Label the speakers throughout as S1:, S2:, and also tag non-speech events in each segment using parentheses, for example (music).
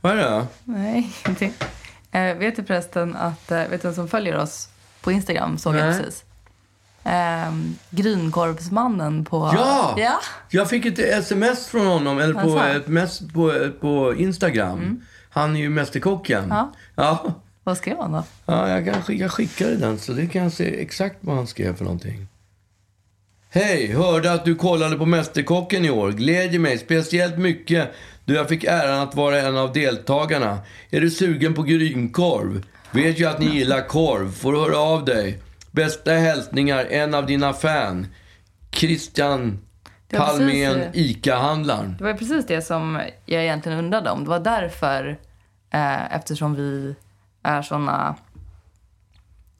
S1: Vad är det
S2: Nej, (laughs) ingenting. Eh, vet du förresten att, eh, vet du vem som följer oss på Instagram såg jag
S1: Nej.
S2: precis? Eh, grynkorvsmannen på...
S1: Ja!
S2: Ja!
S1: Jag fick ett sms från honom, eller
S2: Vad
S1: på,
S2: sa han? Mm.
S1: ett mess på, på Instagram. Han är ju Mästerkocken.
S2: Ja.
S1: Ja,
S2: Vad skrev han då?
S1: ja jag, kan, skick- jag skickade den, så det kan jag se exakt vad han skrev för någonting. Hej! Hörde att du kollade på Mästerkocken i år. Glädjer mig speciellt mycket då jag fick äran att vara en av deltagarna. Är du sugen på grynkorv? Vet ju att ni gillar korv. Får höra av dig. Bästa hälsningar, en av dina fan. Christian
S2: Det var precis
S1: Palmén,
S2: det.
S1: ICA-handlaren.
S2: Det var ju precis det som jag egentligen undrade om. Det var därför, eh, eftersom vi är såna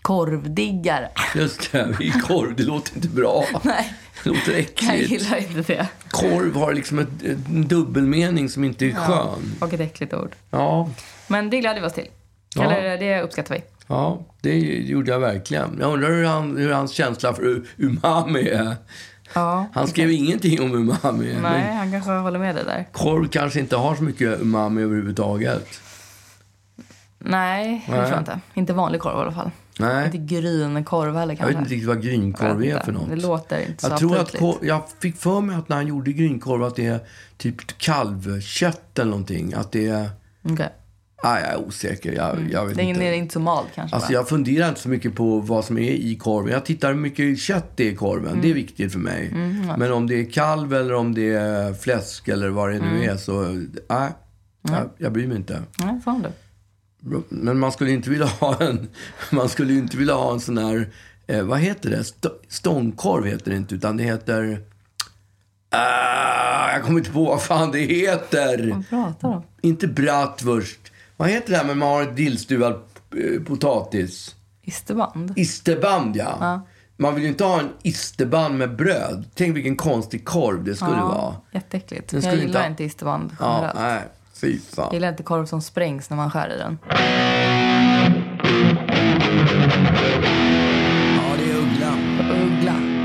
S2: korvdiggare. (laughs)
S1: Just det, vi är korv. Det låter inte bra.
S2: Nej,
S1: Det låter
S2: jag
S1: äckligt.
S2: gillar inte det.
S1: Korv har liksom ett, en dubbelmening som inte är skön.
S2: Och ett äckligt ord.
S1: Ja,
S2: Men det gläder vi oss till.
S1: Ja.
S2: Eller det uppskattar vi.
S1: ja, det gjorde jag verkligen. Jag undrar hur, han, hur hans känsla för u- umami är.
S2: Ja.
S1: Han skrev ingenting om umami.
S2: Nej,
S1: Men
S2: han kanske håller med dig där.
S1: korv kanske inte har så mycket umami överhuvudtaget.
S2: Nej, det
S1: Nej.
S2: tror jag inte. Inte vanlig korv i alla fall. Inte
S1: Nej,
S2: grynkorv heller
S1: jag
S2: kanske.
S1: vet inte riktigt vad
S2: Jag
S1: grynkorv
S2: vet
S1: är
S2: inte.
S1: för något.
S2: Det låter inte så
S1: Jag, tror att
S2: aptitligt.
S1: ko- jag fick för mig att när han gjorde grynkorv att det är typ kalvkött eller någonting. Att det är...
S2: Okej.
S1: Ah, jag är osäker. Jag, jag vet
S2: Mm. Det är ingen-
S1: inte.
S2: det är inte så mal kanske.
S1: Alltså,
S2: va?
S1: jag funderar inte så mycket på vad som är i korven. Jag tittar hur mycket kött det är i korven. Det är viktigt för mig. Men om det är kalv eller om det är fläsk eller vad det nu är så... Nej, jag, jag bryr mig inte.
S2: Nej, fan du.
S1: Men man skulle inte vilja ha en... Man skulle ju inte vilja ha en sån här... Eh, vad heter det? St- stångkorv heter det inte, utan det heter... Ah, jag kommer inte på vad fan det heter.
S2: Vad pratar de?
S1: Inte bratwurst. Vad heter det här med man har dillstuvad eh, potatis?
S2: Isterband?
S1: Isterband, ja. Man vill ju inte ha en isterband med bröd. Tänk vilken konstig korv det skulle vara.
S2: Jätteäckligt.
S1: Den
S2: Jag
S1: skulle
S2: gillar
S1: inte ha-
S2: inte, isterband
S1: Ja,
S2: generellt.
S1: nej. Fy
S2: Jag
S1: fan.
S2: gillar inte korv som sprängs när man skär i den.
S1: Ja, det är ugglan.
S2: Uggla.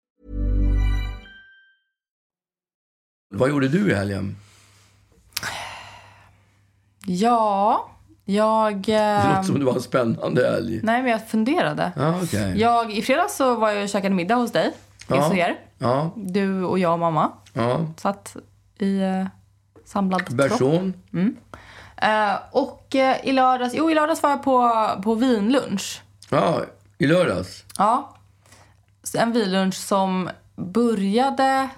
S1: Vad gjorde du i helgen?
S2: Ja, jag...
S1: Det
S2: Eh...
S1: låter som det var en spännande helg.
S2: Nej, men jag funderade.
S1: Ja, okej.
S2: Jag, I fredags så var jag och käkade middag hos dig.
S1: Ja.
S2: Hos er.
S1: Ja,
S2: Du och jag och mamma
S1: ja.
S2: satt i eh, samlad tropp.
S1: Person?
S2: Eh, och eh, i lördags, jo, i lördags var jag på, på vinlunch.
S1: Ja, i lördags.
S2: Ja. Så En vinlunch som började...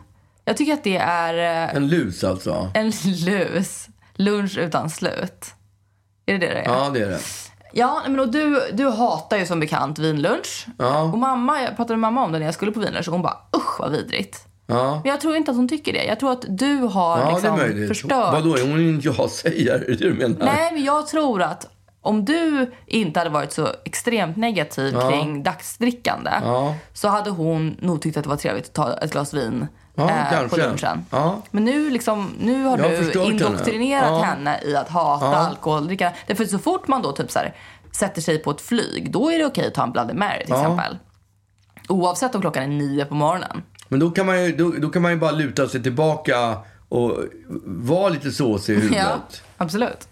S2: Jag tycker att det är eh,
S1: En lus alltså.
S2: en (laughs) lus. Lunch utan slut. Är det det det är?
S1: Ja, det är det.
S2: Ja, nej, men och du, du hatar ju som bekant vinlunch. Och mamma, jag pratade med mamma om det när jag skulle på vinlunch och hon bara usch vad vidrigt.
S1: Ja,
S2: Men jag tror inte att hon tycker det. Jag tror att du har
S1: ja det är
S2: liksom
S1: möjligt.
S2: förstört.
S1: Vadå, är hon en ja-sägare? Är det det du menar?
S2: Nej, men jag tror att om du inte hade varit så extremt negativ kring dagsdrickande
S1: Ja.
S2: så hade hon nog tyckt att det var trevligt att ta ett glas vin
S1: Ja,
S2: eh, på
S1: kanske.
S2: lunchen.
S1: Ja.
S2: Men nu, liksom, nu har
S1: Jag har
S2: du
S1: förstört henne.
S2: indoktrinerat
S1: Ja.
S2: henne. i att hata alkoholdrickande. Därför så fort man då typ så här, sätter sig på ett flyg, då är det okej att ta en Bloody Mary till exempel. Oavsett om klockan är nio på morgonen.
S1: Men då kan, man ju, då, då kan man ju bara luta sig tillbaka och vara lite såsig i huvudet.
S2: absolut.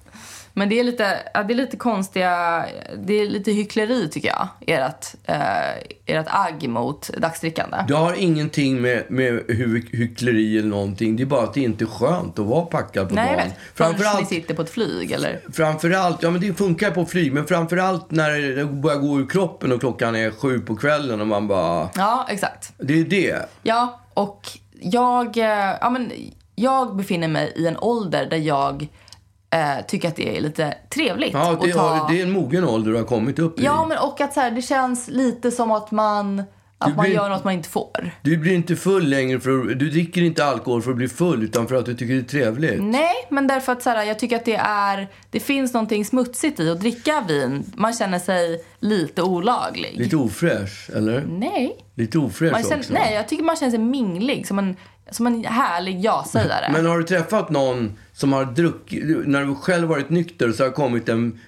S2: Men det är lite, ja, det är lite konstiga, det är lite hyckleri tycker jag. Ert, eh, ert agg mot dagsdrickande.
S1: Det har ingenting med, med hy- hyckleri eller någonting. Det är bara att det inte är skönt att vara packad på
S2: Nej, jag
S1: dagen.
S2: vet. Förrän ni
S1: Framförallt,
S2: sitter på ett flyg eller?
S1: framförallt, ja men det funkar på flyg, men framförallt när det börjar gå ur kroppen och klockan är sju på kvällen och man bara...
S2: Ja, exakt.
S1: Det är det.
S2: Ja, och jag, eh, ja, men jag befinner mig i en ålder där jag eh, tycker att det är lite trevligt
S1: Ja, det,
S2: att ta...
S1: har, det är en mogen ålder du har kommit upp i.
S2: Ja, men och att så här, det känns lite som att man,
S1: Du
S2: att man
S1: blir-
S2: gör något man inte får.
S1: Du blir inte full längre, för, du dricker inte alkohol för att bli full, utan för att du tycker det är trevligt.
S2: Nej, men därför att så här, jag tycker att det är, det finns någonting smutsigt i att dricka vin. Man känner sig lite olaglig.
S1: Lite ofräsch, eller?
S2: Nej.
S1: Lite ofräsch
S2: Man
S1: också.
S2: känner, nej, jag tycker man känner sig minglig, som en, som en härlig ja-sägare.
S1: Men har du träffat någon som har druckit, när du själv varit nykter så har kommit en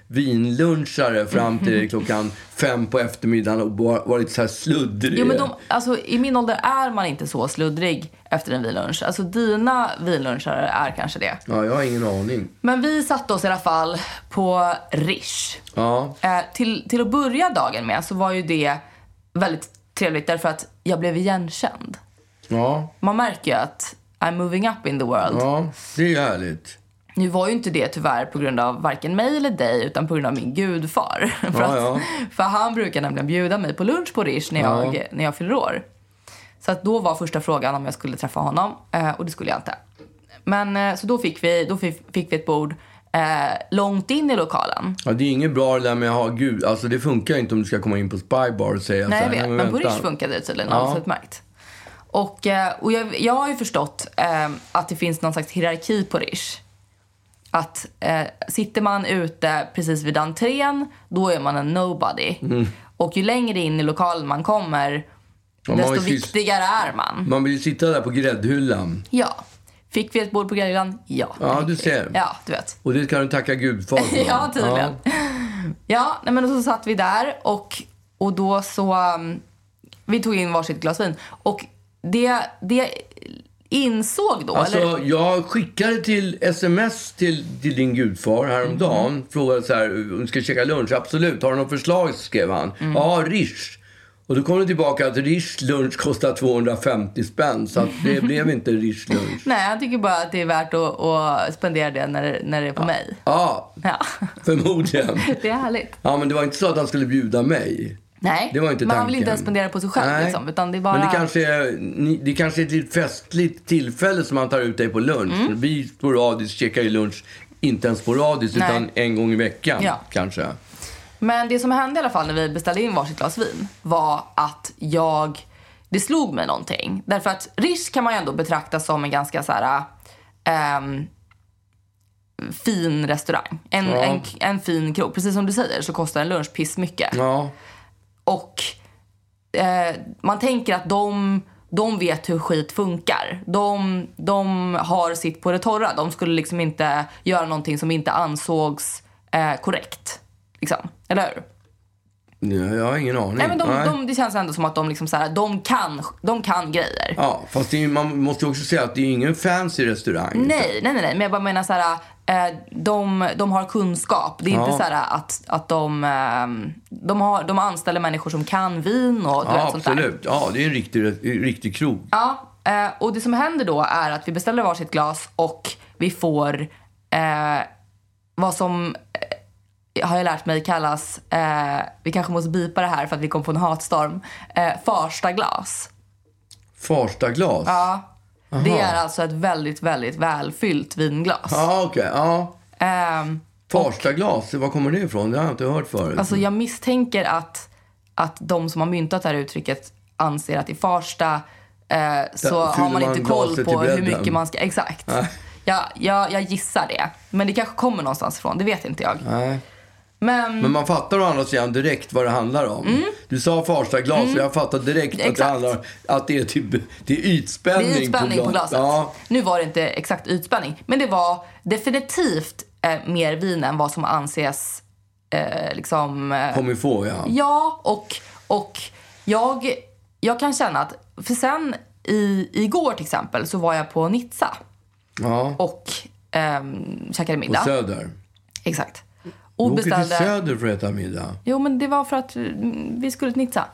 S1: vinlunchare fram till
S2: Mm-hmm.
S1: dig klockan fem på eftermiddagen och bara varit så här sluddrig?
S2: Jo, men de, alltså, I min ålder är man inte så sluddrig efter en vinlunch. Alltså dina vinluncher är kanske det.
S1: Ja, jag har ingen aning.
S2: Men vi satte oss i alla fall på Rish.
S1: Ja,
S2: Eh, till, till att börja dagen med så var ju det väldigt trevligt därför att jag blev igenkänd.
S1: ja,
S2: Man märker ju att I'm moving up in the world.
S1: ja, det är ju härligt.
S2: Nu var ju inte det tyvärr på grund av varken mig eller dig utan på grund av min gudfar. (laughs) för,
S1: Ja, ja.
S2: för han brukar nämligen bjuda mig på lunch på Rish när jag, när jag fyller år. Så att då var första frågan om jag skulle träffa honom eh, och det skulle jag inte. Men eh, så då fick vi, då fick, fick vi ett bord eh, långt in i lokalen.
S1: Ja, det är inget bra det där med att ha gud, alltså det funkar ju inte om du ska komma in på Spybar och säga
S2: Nej,
S1: så
S2: jag
S1: här,
S2: vet. Men på
S1: vänta."
S2: Rish funkade det tydligen
S1: Ja.
S2: alldeles utmärkt. Och, eh, och jag, jag har ju förstått eh, att det finns någon slags hierarki på Rish. Att eh, sitter man ute precis vid entrén, då är man en nobody.
S1: Mm.
S2: Och ju längre in i lokalen man kommer,
S1: man
S2: desto
S1: är sist.
S2: viktigare är man.
S1: Man vill ju sitta där på gräddhyllan.
S2: Ja. Fick vi ett bord på grillen? Ja.
S1: Ja, du ser.
S2: Ja, du vet.
S1: Och det kan du tacka gudfar för.
S2: (laughs) Ja, tydligen. Ja, nej, men så satt vi där och, och då så... um, vi tog in varsitt glas vin. Och det, det insåg då... eller,
S1: Alltså, jag skickade till sms till, till din gudfar häromdagen. Frågade så här, om du ska käka lunch? Absolut. Har du något förslag? skrev han. Ja, Rish. Och då kom det tillbaka att Rish lunch kostar 250 spänn. Så att det blev inte Rish lunch.
S2: nej, jag tycker bara att det är värt att, att spendera det när, när det är på mig.
S1: Ja,
S2: Ja. (laughs)
S1: förmodligen.
S2: Det är härligt.
S1: Ja, men det var inte så att han skulle bjuda mig.
S2: Nej,
S1: Det var inte
S2: man
S1: tanken.
S2: vill inte ens spendera på sig själv.
S1: Nej.
S2: Liksom, utan det är bara...
S1: Men det kanske är, ni- det kanske är ett festligt tillfälle som man tar ut dig på lunch.
S2: Mm.
S1: Vi sporadiskt checkar ju lunch, inte ens sporadiskt,
S2: Nej.
S1: utan en gång i veckan
S2: Ja.
S1: kanske.
S2: Men det som hände i alla fall när vi beställde in varsitt glas vin var att jag, det slog mig någonting. Därför att Rish kan man ju ändå betrakta som en ganska så här, ehm, fin restaurang. En,
S1: Ja.
S2: en, en fin krog. Precis som du säger så kostar en lunch piss mycket.
S1: Ja.
S2: Och eh, man tänker att de, de vet hur skit funkar. De, de har sitt på det torra. De skulle liksom inte göra någonting som inte ansågs eh, korrekt. Liksom. Eller hur?
S1: Nej, jag har ingen aning.
S2: Nej, men de,
S1: Nej.
S2: De, det känns ändå som att de, liksom så här, de, kan, de kan grejer.
S1: Ja, fast det är, man måste ju också säga att det är ingen fancy restaurang.
S2: Nej, nej, nej, nej. Men jag bara menar så här, eh, de, de har kunskap. Det är
S1: Ja.
S2: inte så här att, att de, ehm, de, har, de anställer människor som kan vin och du
S1: Ja,
S2: vet, sånt där.
S1: absolut. Ja, det är en riktig, riktig krog.
S2: Ja, eh, och det som händer då är att vi beställer varsitt glas och vi får eh, vad som eh, har jag lärt mig kallas, eh, vi kanske måste bipa det här för att vi kom på en hatstorm, eh, farsta glas.
S1: Farstaglas. Ja,
S2: Det är alltså ett väldigt, väldigt välfyllt vinglas.
S1: ja okej. Ja.
S2: Ehm,
S1: Farstaglas, var kommer det ifrån? Det har jag inte hört förut.
S2: alltså jag misstänker att, att de som har myntat det här uttrycket anser att i Farsta eh, så har
S1: fyller
S2: man inte
S1: man
S2: koll
S1: glaset
S2: på
S1: till
S2: hur
S1: bredden.
S2: mycket man ska... Exakt. Jag, jag, jag gissar det. Men det kanske kommer någonstans ifrån, det vet inte jag.
S1: Nej.
S2: Men,
S1: Men man fattar å andra sidan direkt vad det handlar om. Du sa Farstaglas och jag fattar direkt att det
S2: Mm. Exakt.
S1: handlar att det är, typ, det är
S2: det
S1: ytspänning,
S2: är ytspänning på
S1: glas.
S2: glaset.
S1: Ja.
S2: Nu var det inte exakt ytspänning, men det var definitivt eh, mer vin än vad som anses eh, liksom... Eh,
S1: Kom ifrån, ja.
S2: Ja, och, och jag, jag kan känna att... För sen i, igår till exempel så var jag på Nizza
S1: ja.
S2: och ehm, käkade middag.
S1: Söder.
S2: Exakt.
S1: Du
S2: Och
S1: åker till
S2: beställde...
S1: Söder för att äta middag.
S2: Jo, men det var för att mm, vi skulle nitsa.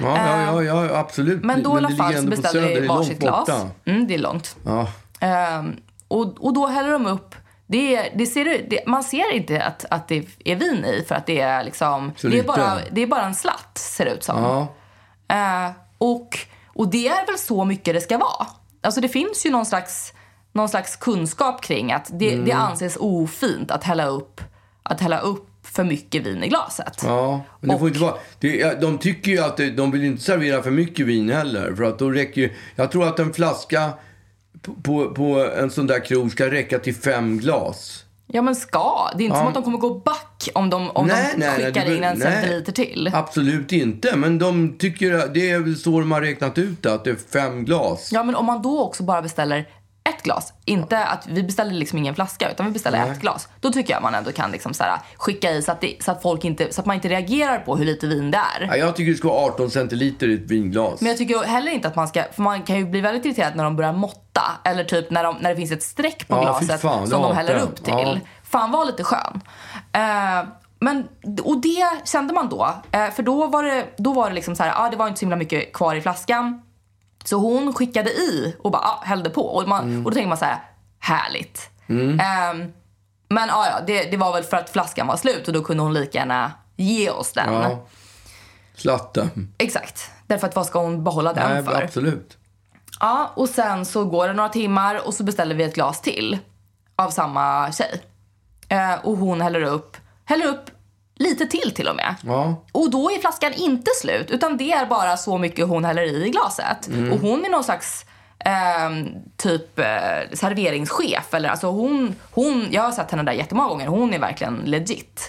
S1: Ja, ja, ja, ja absolut.
S2: Ehm, Men då i alla
S1: det ligger
S2: fall så
S1: ändå på Söder,
S2: beställde
S1: det
S2: vi
S1: är
S2: varsitt
S1: långt
S2: glas.
S1: borta.
S2: Mm, det är långt.
S1: Ja.
S2: Ehm, och, och då häller de upp... Det, är- det ser, det, man ser inte att, att det är vin i för att det är liksom...
S1: Så
S2: Det är,
S1: lite.
S2: bara, det är bara en slatt, ser det ut som.
S1: Ja.
S2: Eh, och, och det är väl så mycket det ska vara. Alltså det finns ju någon slags, någon slags kunskap kring att det, det
S1: Mm.
S2: anses ofint att hälla, upp, att hälla upp för mycket vin i glaset.
S1: Ja, men det får
S2: Och-
S1: inte vara. Det, ja, de tycker ju att det, de vill inte servera för mycket vin heller. För att då räcker ju, jag tror att en flaska på, på, på en sån där krog ska räcka till fem glas.
S2: Ja men ska. Det är inte som att de kommer gå back om de, om
S1: Nej,
S2: de
S1: nej, nej,
S2: skickar
S1: det
S2: in
S1: blir-
S2: en
S1: nej.
S2: centiliter till.
S1: Absolut inte, men de tycker att det är väl så de har räknat ut det, att det är fem glas.
S2: Ja men om man då också bara beställer ett glas, inte att vi beställer liksom ingen flaska utan vi beställer ett glas. Då tycker jag man ändå kan liksom så här, skicka i så att, det, så, att folk inte, så att man inte reagerar på hur lite vin det är.
S1: Ja, jag tycker det ska vara 18 centiliter i ett vinglas.
S2: Men jag tycker heller inte att man ska, för man kan ju bli väldigt irriterad när de börjar måtta. Eller typ när, de, när det finns ett streck på
S1: Ja, fy
S2: glaset
S1: fan, det
S2: som de
S1: hatar
S2: häller
S1: jag.
S2: upp till.
S1: Ja.
S2: Fan var lite skön. Eh, men, och det kände man då. Eh, för då var det, då var det liksom så här, ah, det var inte så himla mycket kvar i flaskan. Så hon skickade i och bara ah, hällde på. Och, man,
S1: Mm.
S2: och då tänker man så här, härligt. Ehm, men ah, ja, det, det var väl för att flaskan var slut och då kunde hon lika gärna ge oss den.
S1: Ja. Slatten.
S2: Exakt. Därför att vad ska hon behålla den
S1: Nej,
S2: för?
S1: absolut.
S2: Ja, och sen så går det några timmar och så beställer vi ett glas till av samma tjej. Eh, och hon häller upp, häller upp lite till till och med.
S1: Ja.
S2: Och då är flaskan inte slut utan det är bara så mycket hon häller i i glaset. Och hon är någon slags ehm, typ eh, serveringschef. Eller, alltså hon, hon, jag har sett henne där jättemånga gånger. Hon är verkligen legit.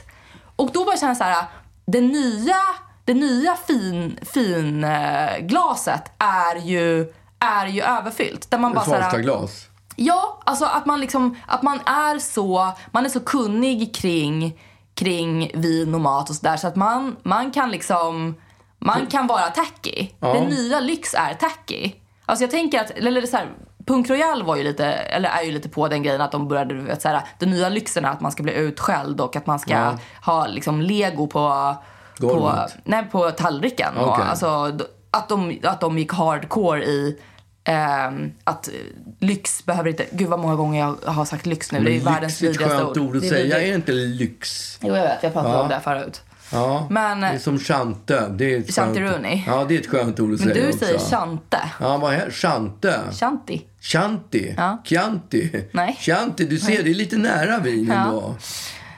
S2: Och då börjar jag känna så här, det nya, det nya fin, fin eh, glaset är ju, är ju överfyllt. Där man bara så här-
S1: Svalsta glas.
S2: Ja, alltså att man liksom, att man är så, man är så kunnig kring, kring vin och mat och sådär så att man, man kan liksom, man kan vara tacky. Den nya lyx är tacky. Alltså jag tänker att, eller det är så här, Punk Royal var ju lite, eller är ju lite på den grejen att de började, du vet, så här, den nya lyxen är att man ska bli utskälld och att man ska ha liksom lego på, på,
S1: Golvet.
S2: nej, på tallriken. Och,
S1: Okej.
S2: alltså, d- att, de, att de gick hardcore i ehm, att eh, lyx behöver inte... Gud vad många gånger jag har sagt lyx nu. det är ju
S1: Men
S2: världens
S1: lyxigt
S2: vidrigaste
S1: skönt ord att
S2: Det är
S1: säga.
S2: vidrigt.
S1: Är det inte lyx?
S2: Jo jag vet, jag pratade om det här förut.
S1: Ja.
S2: Men- eh,
S1: det är som chante. Det är ett skönt-
S2: Chanteroni.
S1: Ja, det är ett skönt ord att
S2: Men
S1: säga
S2: du
S1: också.
S2: säger chante.
S1: Ja, vad här? Chante.
S2: Chanti.
S1: Chanti.
S2: Ja.
S1: Chianti.
S2: Nej.
S1: Chanti. Du ser, det är lite nära vin ändå.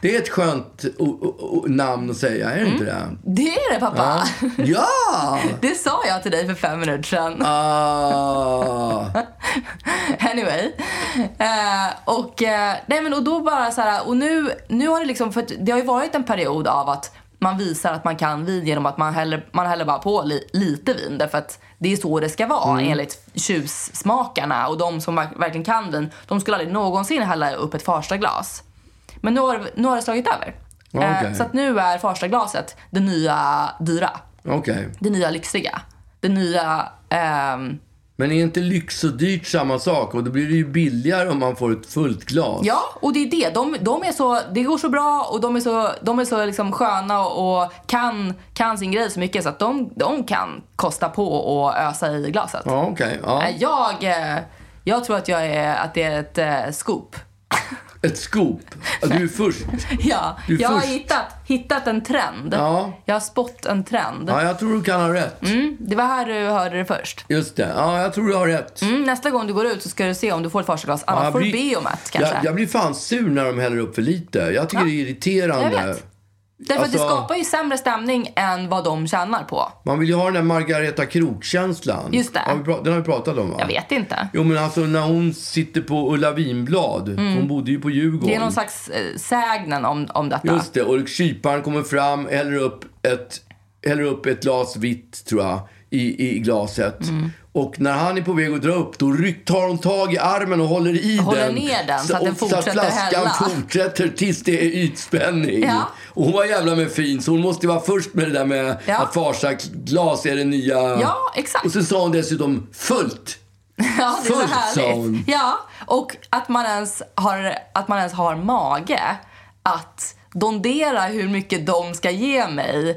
S1: Det är ett skönt o- o- o- namn att säga, är det inte det?
S2: Det är det pappa!
S1: Ja!
S2: (laughs) Det sa jag till dig för fem minuter sedan.
S1: Ah.
S2: (laughs) Anyway. Eh, och, eh, nej men, och då bara så här, och nu, nu har det liksom, för att det har ju varit en period av att man visar att man kan vin genom att man häller, man häller bara på li, lite vin därför att det är så det ska vara enligt tjuvsmakarna och de som verk- verkligen kan vin, de skulle aldrig någonsin hälla upp ett första glas. Men nu har, det- nu har det slagit över. Eh,
S1: Okej.
S2: så att nu är första glaset det nya dyra,
S1: Okej.
S2: det nya lyxiga, det nya ehm,
S1: Men är inte lyx och dyrt samma sak? Och då blir det ju billigare om man får ett fullt glas.
S2: Ja, och det är det. De, de är så, det går så bra och de är så, de är så liksom sköna och, och kan, kan sin grej så mycket så att de, de kan kosta på och ösa i glaset.
S1: Ja, okej.
S2: Nej,
S1: Ja.
S2: Jag, eh, jag tror att, jag är, att det är ett eh, scoop. (laughs)
S1: Ett scoop. Ja, Du är först.
S2: Ja,
S1: Du är
S2: jag har
S1: först.
S2: hittat, hittat en trend.
S1: Ja.
S2: Jag har spått en trend.
S1: Ja, jag tror du kan ha rätt.
S2: Det var här du hörde det först.
S1: Just det. Ja, jag tror du har rätt.
S2: Mm, nästa gång du går ut så ska du se om du får ett första glas. Annars
S1: Ja, jag
S2: får du
S1: blir-
S2: be om ett kanske.
S1: Jag, jag blir fan sur när de häller upp för lite. Jag tycker det är irriterande.
S2: Jag vet. Därför att det
S1: alltså-
S2: skapar ju sämre stämning än vad de tjänar på.
S1: Man vill ju ha den där Margareta Krok-känslan.
S2: Just det.
S1: Har vi pra- den har vi pratat om va?
S2: Jag vet inte.
S1: Jo men alltså när hon sitter på Ulla Vinblad. Hon bodde ju på Djurgården.
S2: Mm. Det är någon slags eh, sägnen om, om detta.
S1: Just det. Och kyparen kommer fram, häller upp ett, häller upp ett glas vitt tror jag. I, i glaset.
S2: Mm.
S1: Och när han är på väg att dra upp då ryck, tar hon tag i armen och håller i
S2: Håller
S1: den.
S2: ner den så att den
S1: och-
S2: fortsätter
S1: Så att flaskan
S2: hälla.
S1: fortsätter tills det är ytspänning.
S2: Ja.
S1: Och hon var jävla med fin så hon måste ju vara först med det där med
S2: Ja.
S1: att farsa glas är det nya.
S2: Ja, exakt.
S1: Och så sa hon dessutom fullt.
S2: (laughs) ja, det är så
S1: fullt, sa
S2: härligt.
S1: hon.
S2: Ja, och att man ens har, att man ens har mage att dondera hur mycket de ska ge mig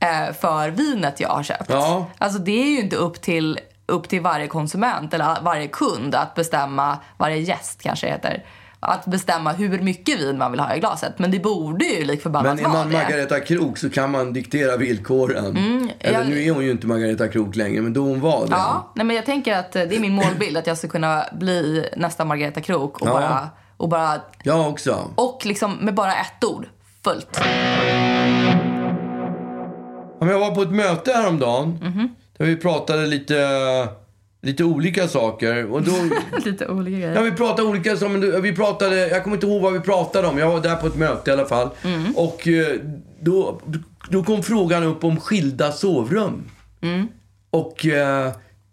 S2: eh, för vinet jag har köpt.
S1: Ja.
S2: Alltså det är ju inte upp till, upp till varje konsument eller varje kund att bestämma, varje gäst kanske det heter, att bestämma hur mycket vin man vill ha i glaset. Men det borde ju lik förbannat
S1: Men är
S2: vara
S1: man
S2: det. Mm,
S1: Margareta Krok så kan man diktera villkoren. Eller
S2: jag-
S1: nu är hon ju inte Margareta Krok längre, men då hon var det.
S2: Ja, nej men jag tänker att eh, det är min målbild att jag ska kunna bli nästa Margareta Krok och,
S1: Ja.
S2: bara, och bara
S1: Jag också.
S2: Och liksom med bara ett ord.
S1: (laughs)
S2: Fullt.
S1: Ja, men Jag var på ett möte häromdagen där vi pratade lite, lite olika saker. Och då,
S2: Lite olika
S1: ja,
S2: grejer.
S1: vi pratade olika saker, vi pratade, jag kommer inte ihåg vad vi pratade om. Jag var där på ett möte i alla fall. Och eh, då, då kom frågan upp om skilda sovrum. Och... eh,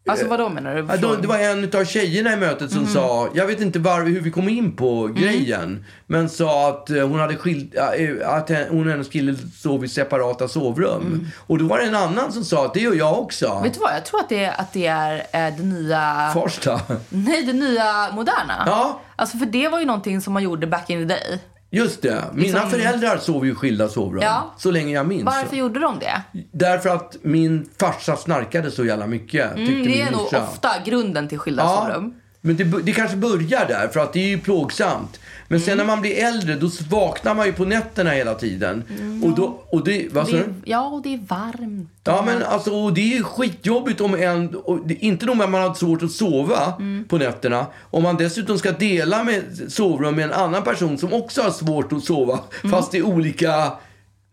S2: Alltså vadå menar du?
S1: Ja, då, det var en av tjejerna i mötet
S2: Mhm.
S1: som sa, jag vet inte var, hur vi kom in på
S2: Mm.
S1: grejen, men sa att eh, hon hade skilt, äh, att hen- hon och hennes kille sov i separata sovrum. Och då var det en annan som sa att det gör jag också.
S2: Mm. Vet du vad? Jag tror att det är, att det, är eh, det nya...
S1: Farsta.
S2: Nej, det nya moderna.
S1: Ja.
S2: Alltså för det var ju någonting som man gjorde back in the day.
S1: Just det, mina
S2: Liksom-
S1: föräldrar sov ju i skilda sovrum.
S2: Ja.
S1: Så länge jag minns.
S2: Varför gjorde de det?
S1: Därför att min farsa snarkade så jävla mycket, tyckte
S2: Mm, det
S1: min
S2: är nog
S1: morsa.
S2: ofta grunden till skilda sovrum.
S1: Men det, bu- det kanske börjar där, för att det är ju plågsamt. Men sen när
S2: Mm.
S1: man blir äldre, då vaknar man ju på nätterna hela tiden. Och då, och det, vad sa
S2: Mm. Det
S1: du?
S2: är, ja, och det är varmt.
S1: Ja men alltså, och det är ju skitjobbigt om en, och det, inte nog med att man har svårt att sova
S2: Mm.
S1: på nätterna, om man dessutom ska dela med sovrum med en annan person som också har svårt att sova,
S2: Mm.
S1: fast i olika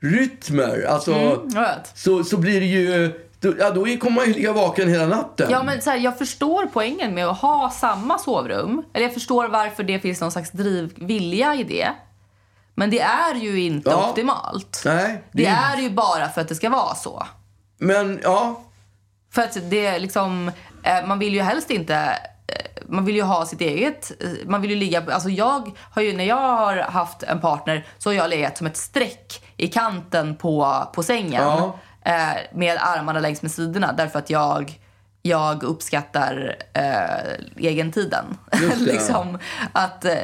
S1: rytmer. Alltså,
S2: Jag vet.
S1: så, så blir det ju, då, ja, då är- kommer man ju ligga vaken hela natten.
S2: Ja, men så här, jag förstår poängen med att ha samma sovrum. Eller jag förstår varför det finns någon slags drivvilja i det. Men det är ju inte
S1: Ja.
S2: optimalt.
S1: Nej,
S2: Det är ju bara för att det ska vara så.
S1: Men ja,
S2: För att det är liksom, eh, man vill ju helst inte, eh, man vill ju ha sitt eget, eh, man vill ju ligga, alltså jag har ju, när jag har haft en partner så har jag legat som ett streck i kanten på, på sängen.
S1: Ja.
S2: Eh, med armarna längs med sidorna därför att jag, jag uppskattar eh, egentiden.
S1: Just det.
S2: (laughs) liksom att eh,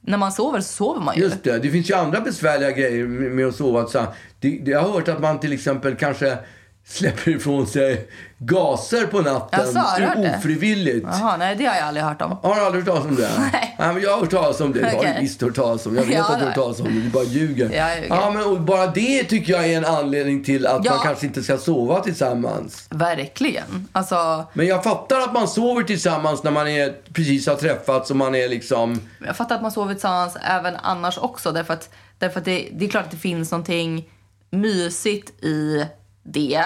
S2: när man sover så sover man ju.
S1: Just det. Det finns ju andra besvärliga grejer med med att sova. Så här, det, det, jag har hört att man till exempel kanske släpper ifrån sig gaser på natten
S2: Jaså, har du hört det?
S1: ofrivilligt.
S2: Jaha, nej det har jag aldrig hört om.
S1: Har du aldrig hört talas om det?
S2: Nej.
S1: men jag har hört talas om det. Jag har
S2: Okej.
S1: ju visst hört talas om det. Jag vet
S2: Ja,
S1: att du har
S2: det-
S1: hört talas om det. Du bara ljuger.
S2: Jag ljuger.
S1: Ja, men och bara det tycker jag är en anledning till att
S2: Ja.
S1: man kanske inte ska sova tillsammans.
S2: Verkligen. Alltså,
S1: Men jag fattar att man sover tillsammans när man är, precis har träffats och man är liksom...
S2: Jag fattar att man sover tillsammans även annars också. Därför att, därför att det, det är klart att det finns någonting mysigt i det.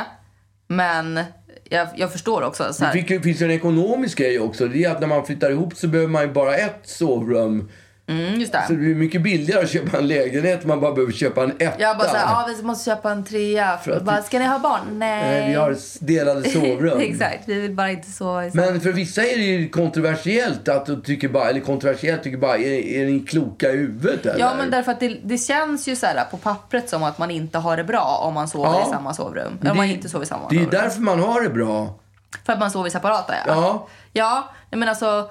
S2: Men jag, jag förstår också. Så
S1: Det
S2: här,
S1: fick, ju- finns ju en ekonomisk grej också. Det är att när man flyttar ihop så behöver man ju bara ett sovrum.
S2: mm, just
S1: Så det
S2: det.
S1: blir mycket billigare att köpa en lägenhet om man bara behöver köpa en etta.
S2: Jag bara såhär, ah, vi måste köpa en trea. För bara, ska ni ha barn? Nej.
S1: Eh, Vi har delade sovrum.
S2: (laughs) Exakt, vi vill bara inte sova i samma-
S1: Men för vissa är det ju kontroversiellt att du tycker bara, eller kontroversiellt tycker bara, är, är ni kloka i huvudet eller?
S2: Ja men därför att det, det känns ju så här på pappret som att man inte har det bra om man sover
S1: Ja.
S2: i samma sovrum.
S1: Det
S2: Om man
S1: är-
S2: inte sover i samma
S1: Det är ju
S2: sovrum.
S1: därför man har det bra.
S2: För att man sover i separata ja.
S1: Ja.
S2: Ja, nej, men alltså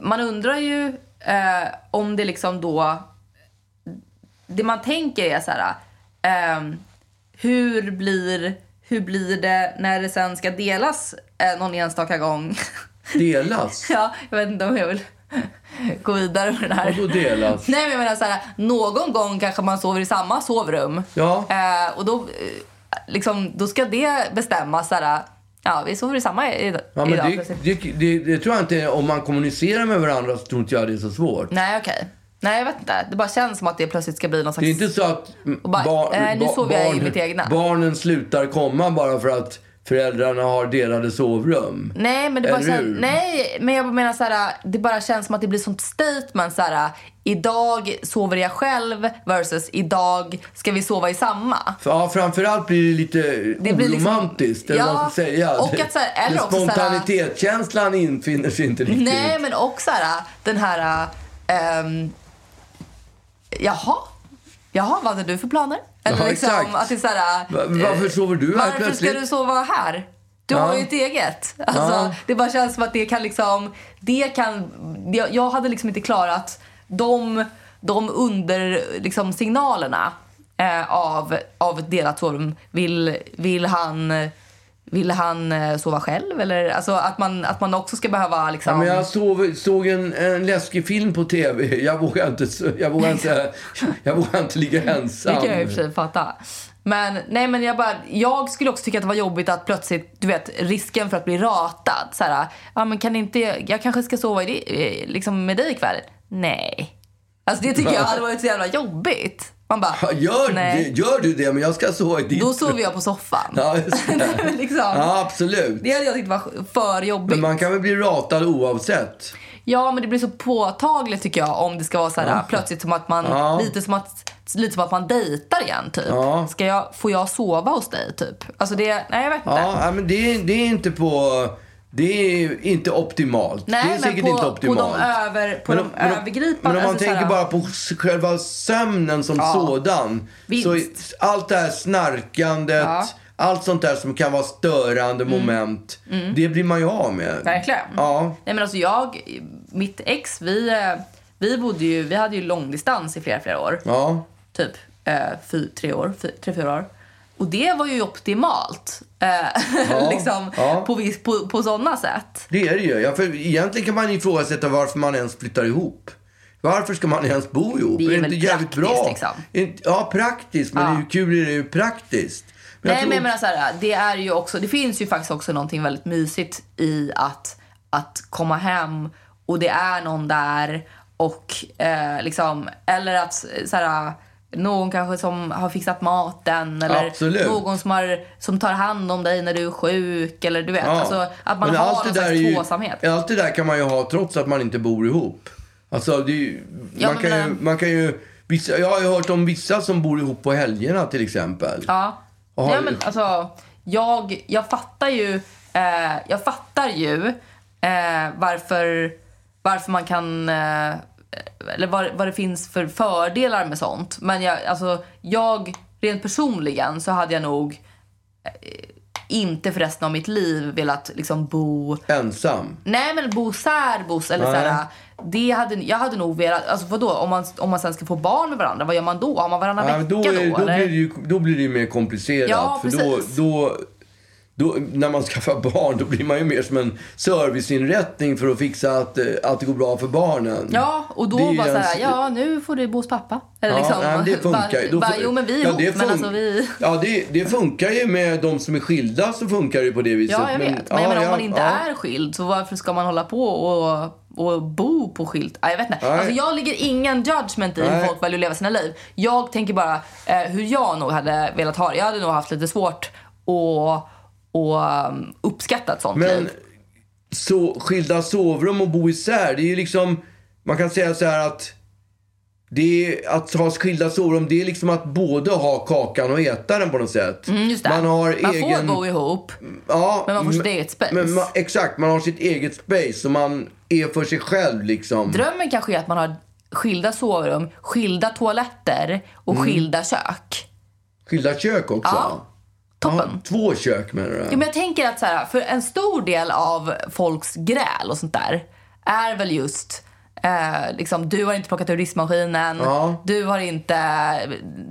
S2: man undrar ju eh, om det liksom då... Det man tänker är så här... Eh, hur, blir, hur blir det när det sen ska delas eh, någon enstaka gång? (laughs)
S1: Delas.
S2: ja, jag vet inte om jag vill (laughs) gå vidare med det här.
S1: Vadå delas?
S2: Nej men jag menar så här, någon gång kanske man sover i samma sovrum. (laughs)
S1: Ja.
S2: Eh, och då, eh, liksom, då ska det bestämmas så här, ja vi sover i samma i,
S1: Ja, men
S2: idag.
S1: det,
S2: plötsligt.
S1: det, det, det tror jag inte, om man kommunicerar med varandra så tror inte jag det är så svårt.
S2: Nej okej. Nej jag vet inte. Det bara känns som att det plötsligt ska bli någon slags...
S1: Det är inte så att mm,
S2: Och bara,
S1: bar-
S2: eh, nu
S1: ba-
S2: sover jag i mitt egna.
S1: barnen slutar komma bara för att föräldrarna har delade sovrum.
S2: Nej men det bara
S1: Eller
S2: känns,
S1: hur?
S2: nej men jag menar så här, det bara känns som att det blir sånt statement så här. idag sover jag själv versus idag ska vi sova i samma.
S1: För, ja, framförallt blir det lite
S2: Det blir liksom-
S1: oromantiskt, eller vad man ska säga.
S2: och att så här- eller
S1: Den
S2: också så här-
S1: Spontanitetskänslan infinner sig inte riktigt.
S2: Nej men också här, den här, ehm, jaha, jaha vad hade du för planer? Eller
S1: Ja,
S2: liksom
S1: exakt.
S2: att det är så här, eh,
S1: Va- varför sover du här
S2: Varför
S1: plötsligt?
S2: ska du sova här? Du
S1: Ja.
S2: har ju ett eget. Alltså,
S1: Ja.
S2: Det bara känns som att det kan liksom, det kan, jag, jag hade liksom inte klarat de de under liksom, signalerna eh, av, av ett delat sovrum. Vill, vill han, vill han eh, sova själv? Eller, alltså, att, man, att man också ska behöva... Liksom,
S1: Ja, men jag såg, såg en, en läskig film på tv. Jag vågar inte, jag vågar
S2: (laughs)
S1: inte, jag vågar inte ligga ensam.
S2: Det kan jag i och för sig fatta. Men, nej, men jag, bara, jag skulle också tycka att det var jobbigt att plötsligt, du vet, risken för att bli ratad. Så här, ja, men kan inte, jag kanske ska sova i, di- eh, liksom med dig ikväll. Nej. Alltså det tycker jag hade varit så jävla jobbigt. Man bara,
S1: Ja, Gör,
S2: nej.
S1: det, gör du det? Men jag ska sova i ditt
S2: Då sover jag på soffan.
S1: Ja, just
S2: (laughs)
S1: det.
S2: liksom,
S1: ja, absolut.
S2: Det hade jag tyckt var för jobbigt.
S1: Men man kan väl bli ratad oavsett?
S2: Ja, men det blir så påtagligt tycker jag om det ska vara så här plötsligt som att man lite som att lite som att man dejtar igen typ. Ska jag får jag sova hos dig typ? Alltså det nej jag vet inte.
S1: Ja, ja, men det, det är inte på... Det är inte optimalt.
S2: Nej,
S1: det är säkert
S2: på,
S1: inte optimalt.
S2: På de, över, på
S1: Men
S2: de
S1: om- men om-
S2: övergripande...
S1: Men om man
S2: alltså, så
S1: tänker
S2: här,
S1: bara på s- själva sömnen som sådan. Så i-
S2: Vinst.
S1: allt det här snarkandet, allt sånt där som kan vara störande moment. Det blir man ju av med.
S2: Mm. Verkligen.
S1: Ja.
S2: Nej men alltså jag, mitt ex, vi, eh, vi bodde ju, vi hade ju långdistans i flera, flera år.
S1: Ja.
S2: Typ eh, fy, tre år, fy, tre, fyra år. Och det var ju optimalt. Eh, (laughs) liksom
S1: ja.
S2: på, vis- på, på sådana sätt.
S1: Det är det ju. Ja, för egentligen kan man ifrågasätta varför man ens flyttar ihop. Varför ska man ens bo ihop?
S2: Det är väl
S1: inte jävligt
S2: praktiskt,
S1: bra?
S2: liksom.
S1: Inte- Ja, praktiskt. Men
S2: Ja.
S1: hur kul är det ju praktiskt? Men jag
S2: Nej,
S1: tror-
S2: men jag menar så här, det är ju också, det finns ju faktiskt också någonting väldigt mysigt i att, att komma hem och det är någon där och eh, liksom, eller att eh, så här, någon kanske som har fixat maten eller
S1: Absolut.
S2: någon som, har, som tar hand om dig när du är sjuk eller du vet,
S1: Ja.
S2: alltså att man
S1: Men
S2: har
S1: allt
S2: någon
S1: det där är
S2: slags
S1: ju-
S2: tvåsamhet.
S1: Allt det där kan man ju ha trots att man inte bor ihop. Alltså, det är ju,
S2: Ja,
S1: man,
S2: men
S1: kan ju,
S2: men-
S1: man kan ju... Vissa, jag har ju hört om vissa som bor ihop på helgerna till exempel.
S2: Ja.
S1: Och har-
S2: Nej, men alltså, jag, jag fattar ju, eh, jag fattar ju eh, varför, varför man kan... Eh, eller vad, vad det finns för fördelar med sånt. Men jag, alltså, jag rent personligen så hade jag nog eh, inte för resten av mitt liv velat liksom bo...
S1: Ensam.
S2: Nej men bo särbos eller såhär. Det hade, jag hade nog velat... Alltså vadå? Om man, om man sen ska få barn med varandra, vad gör man då? Har man varannan
S1: Ja,
S2: vecka
S1: då, är, då,
S2: eller?
S1: blir det ju, då blir det ju mer komplicerat.
S2: Ja,
S1: för då,
S2: precis.
S1: då, då, när man skaffar barn då blir man ju mer som en serviceinrättning för att fixa att, eh, att det går bra för barnen.
S2: Ja, och då
S1: Mm. Det är ju
S2: bara såhär,
S1: ens-
S2: ja nu får du bo hos pappa. Eller
S1: Ja,
S2: liksom,
S1: nej, men det funkar ju. Då
S2: bara,
S1: får-
S2: jo men vi är ihop,
S1: det
S2: men
S1: fun-
S2: alltså
S1: (laughs)
S2: vi...
S1: Ja, det, det funkar ju med de som är skilda så funkar det ju på det viset.
S2: Ja, jag vet. Men jag
S1: ja,
S2: menar, om
S1: ja,
S2: man inte
S1: ja.
S2: är skild, så varför ska man hålla på och, och bo på skilt? Ja, jag vet inte.
S1: Nej.
S2: Alltså, jag ligger ingen judgment i hur
S1: Nej.
S2: folk väljer att leva sina liv. Jag tänker bara eh, hur jag nog hade velat ha det. Jag hade nog haft lite svårt att och um, uppskatta ett sånt
S1: Men
S2: liv.
S1: så, skilda sovrum och bo isär, det är ju liksom... Man kan säga så här att... Det är, att ha skilda sovrum, det är liksom att både ha kakan och äta den på något sätt.
S2: Mm, Just det.
S1: Man har
S2: får
S1: egen...
S2: bo ihop,
S1: ja,
S2: men man får sitt
S1: men-
S2: eget space.
S1: men man, exakt, man har sitt eget space och man är för sig själv liksom.
S2: Drömmen kanske är att man har skilda sovrum, skilda toaletter och skilda kök.
S1: Skilda kök också.
S2: Ja, toppen.
S1: två kök menar du?
S2: Jo, men jag tänker att så här, för en stor del av folks gräl och sånt där är väl just eh, liksom, du har inte plockat ur diskmaskinen,
S1: Ja.
S2: du har inte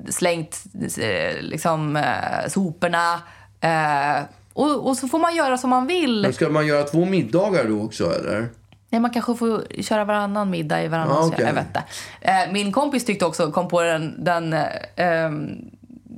S2: slängt eh, liksom, eh, soporna. Eh, och, och så får man göra som man vill.
S1: Men ska man göra två middagar då också eller?
S2: Nej, man kanske får köra varannan middag i varannan
S1: Ja,
S2: kö-
S1: Ah, okej.
S2: Jag vet inte. Eh, min kompis tyckte också, kom på den, den eh, ehm,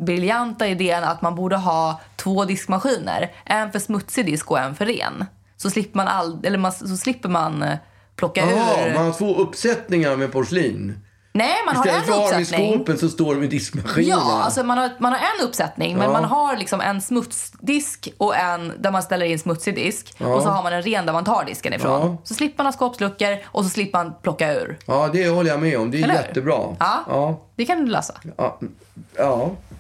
S2: briljanta idén att man borde ha två diskmaskiner. En för smutsig disk och en för ren. Så slipper man, all, eller man, så slipper man eh, plocka
S1: Jaha,
S2: ur...
S1: man har två uppsättningar med porslin.
S2: Nej, man har
S1: Istället för
S2: en
S1: att ha dem i
S2: uppsättning.
S1: skåpen så står de i diskmaskinen.
S2: Ja, alltså man har, man har en uppsättning men man har liksom en smutsdisk och en där man ställer in smutsig disk. Och så har man en ren där man tar disken ifrån.
S1: Ja.
S2: Så slipper man ha skåpsluckor och så slipper man plocka ur.
S1: Ja, det håller jag med om. Det är
S2: Eller hur?
S1: jättebra.
S2: Ja.
S1: Ja.
S2: Det kan du lösa.
S1: Ja. ja.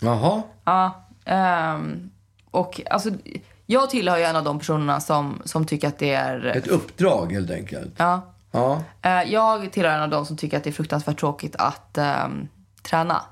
S1: Jaha.
S2: Ja, ehm, och alltså, jag tillhör ju en av de personerna som, som tycker att det är...
S1: Ett uppdrag helt enkelt.
S2: Ja,
S1: Ja.
S2: eh, jag tillhör en av de som tycker att det är fruktansvärt tråkigt att ehm, träna.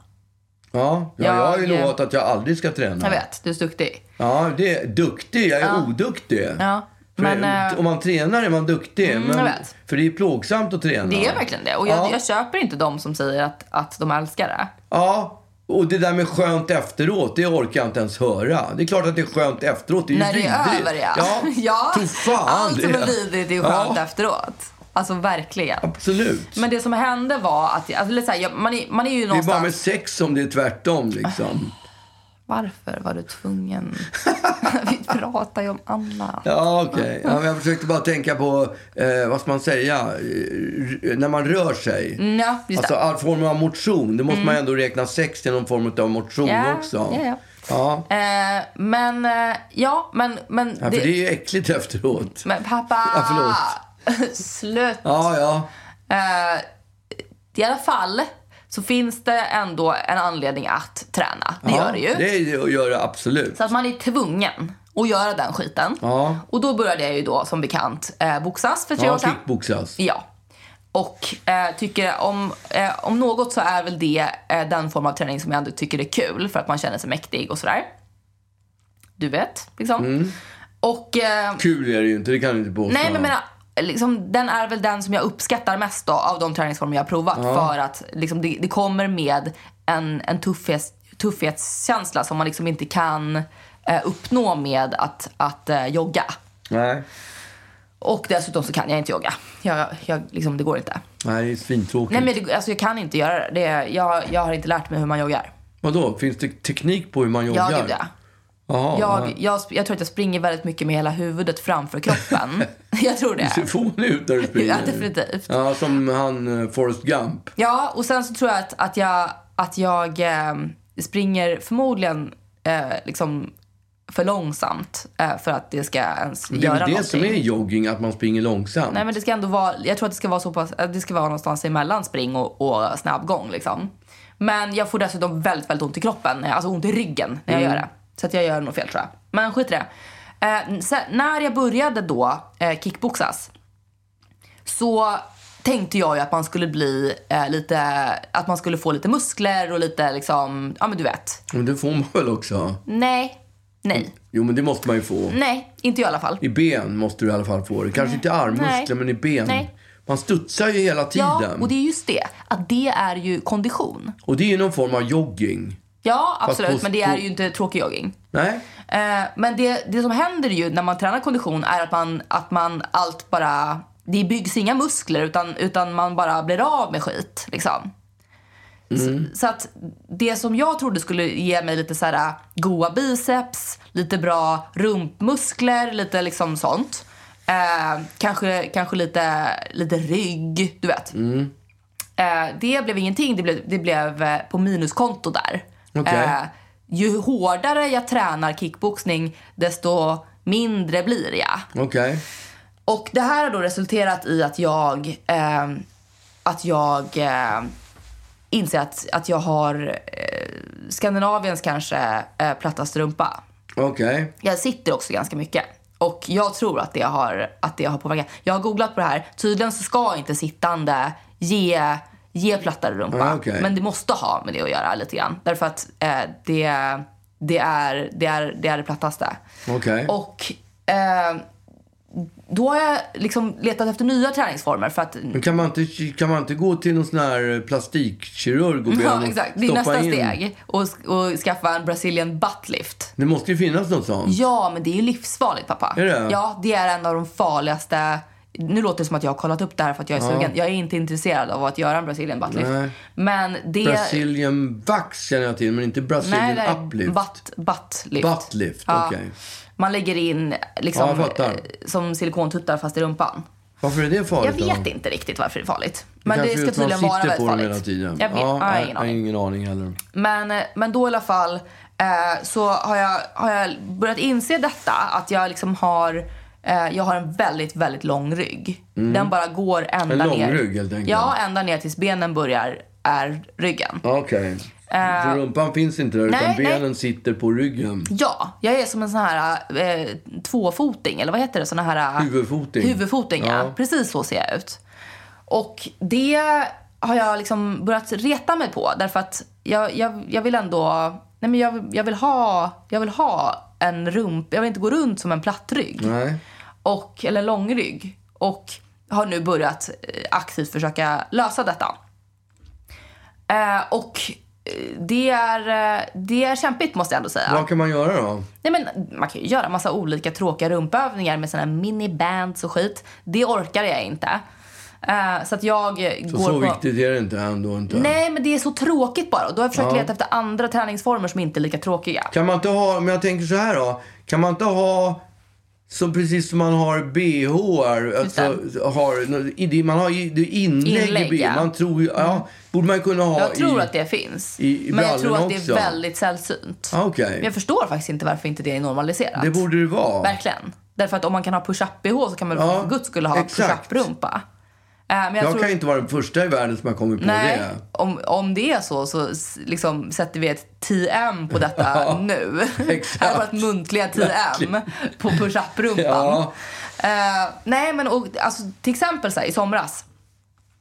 S1: Ja, ja, jag har ju
S2: Jag, eh,
S1: lovat att jag aldrig ska träna.
S2: Jag vet, du är så duktig.
S1: Ja, det är duktig. Jag är oduktig.
S2: Ja,
S1: För
S2: men,
S1: det-
S2: eh, Mm,
S1: om man tränar är man duktig. men,
S2: jag vet.
S1: För det är plågsamt att träna.
S2: Det är verkligen det. Och jag,
S1: Ja.
S2: jag köper inte de som säger att, att de älskar det.
S1: Ja, och det där med skönt efteråt, det orkar jag inte ens höra. Det är klart att det är skönt efteråt. Det är ju
S2: När det är
S1: vidrigt.
S2: över, (laughs) ja.
S1: Ja, tro fan
S2: Allt som
S1: det.
S2: är vidrigt är ju skönt
S1: Ja.
S2: efteråt. Alltså verkligen.
S1: Absolut.
S2: Men det som hände var att, alltså, eller så här, jag, man, är, man är ju
S1: det är
S2: någonstans...
S1: bara med sex som det är tvärtom
S2: (laughs)
S1: liksom.
S2: Varför var
S1: (laughs)
S2: du tvungen? Vi pratar ju om annat.
S1: Ja, okej. Ja, men jag försökte bara tänka på, eh, vad ska man säga, Eh, r- när man rör sig.
S2: Ja, just
S1: Alltså
S2: det.
S1: all form av motion, det måste man ändå räkna sex till någon form av motion
S2: Mm. Ja,
S1: också.
S2: ja, ja.
S1: Ja,
S2: Eh, men, eh, ja, men... men,
S1: ja, för det är ju äckligt efteråt.
S2: men pappa!
S1: Ja, förlåt.
S2: (laughs) Slut.
S1: Ja, ja.
S2: Eh, I alla fall så finns det ändå en anledning att träna. Det gör det ju.
S1: Ja, Det gör det absolut.
S2: Så att man är tvungen att göra den skiten.
S1: Ja.
S2: Och då började jag ju då som bekant eh, boxas för tre år
S1: Ja, alltså.
S2: sedan.
S1: kickboxas.
S2: Ja. Och eh, tycker om, eh, om något så är väl det eh, den form av träning som jag ändå tycker är kul för att man känner sig mäktig och sådär. Du vet, liksom.
S1: Mm.
S2: Och... Eh,
S1: Kul är det ju inte, det kan du inte påstå.
S2: nej, men jag menar, liksom, den är väl den som jag uppskattar mest då, av de träningsformer jag har provat. För att liksom, det, det kommer med en, en tuffhet, tuffhetskänsla som man liksom inte kan eh, uppnå med att, att eh, jogga.
S1: Nej,
S2: Och dessutom så kan jag inte jogga. Jag, jag, liksom, det går inte.
S1: Nej det är svintråkigt.
S2: Nej men det, alltså jag kan inte göra det. det. Jag, jag har inte lärt mig hur man joggar.
S1: Vadå, finns det teknik på hur man joggar?
S2: Jag, gud, ja.
S1: Jaha,
S2: jag,
S1: nej.
S2: jag, sp- jag tror att jag springer väldigt mycket med hela huvudet
S1: (laughs)
S2: framför kroppen. jag tror det.
S1: Du ser fånig ut när du springer.
S2: Ja, definitivt.
S1: Ja, som han eh, Forrest Gump.
S2: Ja, och sen så tror jag att, att jag, att jag eh, springer förmodligen eh, liksom för långsamt eh, för att det ska ens
S1: Det är
S2: göra
S1: väl det som är
S2: någonting.
S1: jogging, att man springer långsamt.
S2: Nej men det ska ändå vara, jag tror att det ska vara så pass, att det ska vara någonstans emellan spring och, och snabbgång liksom. Men jag får dessutom väldigt, väldigt ont i kroppen, alltså ont i ryggen när jag
S1: Mm.
S2: gör det. Så att jag gör nog fel tror jag. Men skit i det. Eh, sen, när jag började då eh, kickboxas så tänkte jag ju att man skulle bli eh, lite, att man skulle få lite muskler och lite liksom, ja men du vet.
S1: Men det får man väl också?
S2: Nej, nej,
S1: Jo, men det måste man ju få.
S2: nej, inte jag i alla fall.
S1: Mm. I ben måste du i alla fall få det. Kanske inte i armmuskler,
S2: Mm. Nej.
S1: men i ben.
S2: Nej.
S1: Man studsar ju hela
S2: Ja,
S1: tiden.
S2: och det är just det, att det är ju kondition.
S1: Och det är ju någon form av jogging.
S2: Ja, absolut.
S1: på-
S2: men det är
S1: på-
S2: ju inte tråkig jogging.
S1: Nej?
S2: Eh, men det, det som händer ju när man tränar kondition är att man, att man allt bara... Det byggs inga muskler utan, utan man bara blir av med skit. Liksom. Så, så att det som jag trodde skulle ge mig lite så här äh, goa biceps, lite bra rumpmuskler, lite liksom sånt. Eh, kanske kanske lite, lite rygg, du vet. Eh, det blev ingenting. Det blev, det blev eh, på minuskonto där.
S1: Okej.
S2: Eh, ju hårdare jag tränar kickboxning, desto mindre blir jag.
S1: Okej.
S2: Och det här har då resulterat i att jag, eh, att jag eh, inser att, att jag har eh, Skandinaviens kanske eh, plattaste rumpa.
S1: Okej.
S2: Jag sitter också ganska mycket. Och jag tror att det har, att det har påverkat. Jag har googlat på det här. Tydligen så ska inte sittande ge, ge plattare rumpa.
S1: Ah, okej.
S2: Men det måste ha med det att göra lite grann. Därför att eh, det, det är det, är, det, är det plattaste.
S1: Okej.
S2: Och eh, då har jag liksom letat efter nya träningsformer för att
S1: Men kan man, inte, kan man inte gå till någon sån här plastikkirurg och be
S2: (laughs) Ja,
S1: honom
S2: exakt. Det är
S1: stoppa
S2: nästa
S1: in?
S2: steg. Och, och skaffa en Brazilian buttlift.
S1: Det måste ju finnas något sånt.
S2: Ja, men det är ju livsfarligt pappa.
S1: Är det?
S2: Ja, det är en av de farligaste. Nu låter det som att jag har kollat upp det här för att jag är sugen. Jag är inte intresserad av att göra en Brazilian buttlift.
S1: Nej.
S2: Men det...
S1: Brazilian vax känner jag till, men inte Brazilian
S2: Nej, det är
S1: uplift.
S2: butt, buttlift.
S1: Buttlift,
S2: Ja.
S1: okej.
S2: Man lägger in
S1: Ja,
S2: liksom
S1: jag fattar.
S2: eh, som silikontuttar fast i rumpan.
S1: Varför är det
S2: Jag
S1: farligt då?
S2: vet inte riktigt varför det är farligt. Men det,
S1: kanske är
S2: ska
S1: att man
S2: tydligen vara
S1: sitter
S2: väldigt
S1: på dem
S2: farligt.
S1: hela tiden.
S2: Jag vet,
S1: ja,
S2: jag har
S1: nej,
S2: ingen aning.
S1: ingen aning heller.
S2: Men, men då i alla fall eh, så har jag, har jag börjat inse detta. Att jag liksom har, eh, jag har en väldigt, väldigt lång rygg. Den bara går ända
S1: Mm. En lång
S2: ner.
S1: rygg, helt enkelt.
S2: Ja, ända ner tills benen börjar är ryggen.
S1: Okej. Så rumpan finns inte där, utan
S2: Eh, nej, nej.
S1: benen sitter på ryggen.
S2: Ja, jag är som en sån här eh, tvåfoting, eller vad heter det? Sån här, eh,
S1: Huvudfoting.
S2: Huvudfoting, ja.
S1: Ja.
S2: Precis så ser jag ut. Och det har jag liksom börjat reta mig på därför att jag, jag, jag vill ändå... Nej men jag, jag, vill ha, jag vill ha en rump... Jag vill inte gå runt som en platt rygg.
S1: Nej.
S2: Och, eller lång rygg. Och har nu börjat eh, aktivt försöka lösa detta. Eh, och eh, det är, eh, det är kämpigt måste jag ändå säga.
S1: Vad kan man göra då?
S2: Nej men man kan ju göra massa olika tråkiga rumpövningar med såna här minibands och skit. Det orkar jag inte. Eh, så att jag eh,
S1: Så,
S2: går
S1: så
S2: på...
S1: viktigt är det inte ändå inte.
S2: Nej men det är så tråkigt bara. Och Då har jag försökt leta efter andra träningsformer som inte är lika tråkiga.
S1: Kan man inte ha, men jag tänker så här då. Kan man inte ha, så precis som man har bhar, alltså, har, i det- man har i- det inlägg,
S2: Inlägg,
S1: i bh.
S2: ja. Mm.
S1: Man tror ju, ja, borde man kunna ha
S2: Jag tror
S1: i,
S2: att det finns.
S1: i- i
S2: men jag tror
S1: brallorna
S2: att det är
S1: också.
S2: väldigt sällsynt.
S1: Ah, Okej,
S2: Men Jag förstår faktiskt inte varför inte det är normaliserat.
S1: det borde det vara.
S2: Verkligen. Därför att om man kan ha push-up-bh så kan man väl
S1: Ja,
S2: för guds skull ha
S1: exakt.
S2: push-up-rumpa. Eh, men jag
S1: Jag
S2: tror...
S1: kan inte vara den första i världen som har kommit på
S2: Nej,
S1: det.
S2: om, om det är så så s- liksom, sätter vi ett TM
S1: (laughs)
S2: på detta nu.
S1: exakt.
S2: Det här var ett muntliga TM på push-up-rumpan.
S1: Ja.
S2: Eh, nej, men och, alltså, till exempel så här, i somras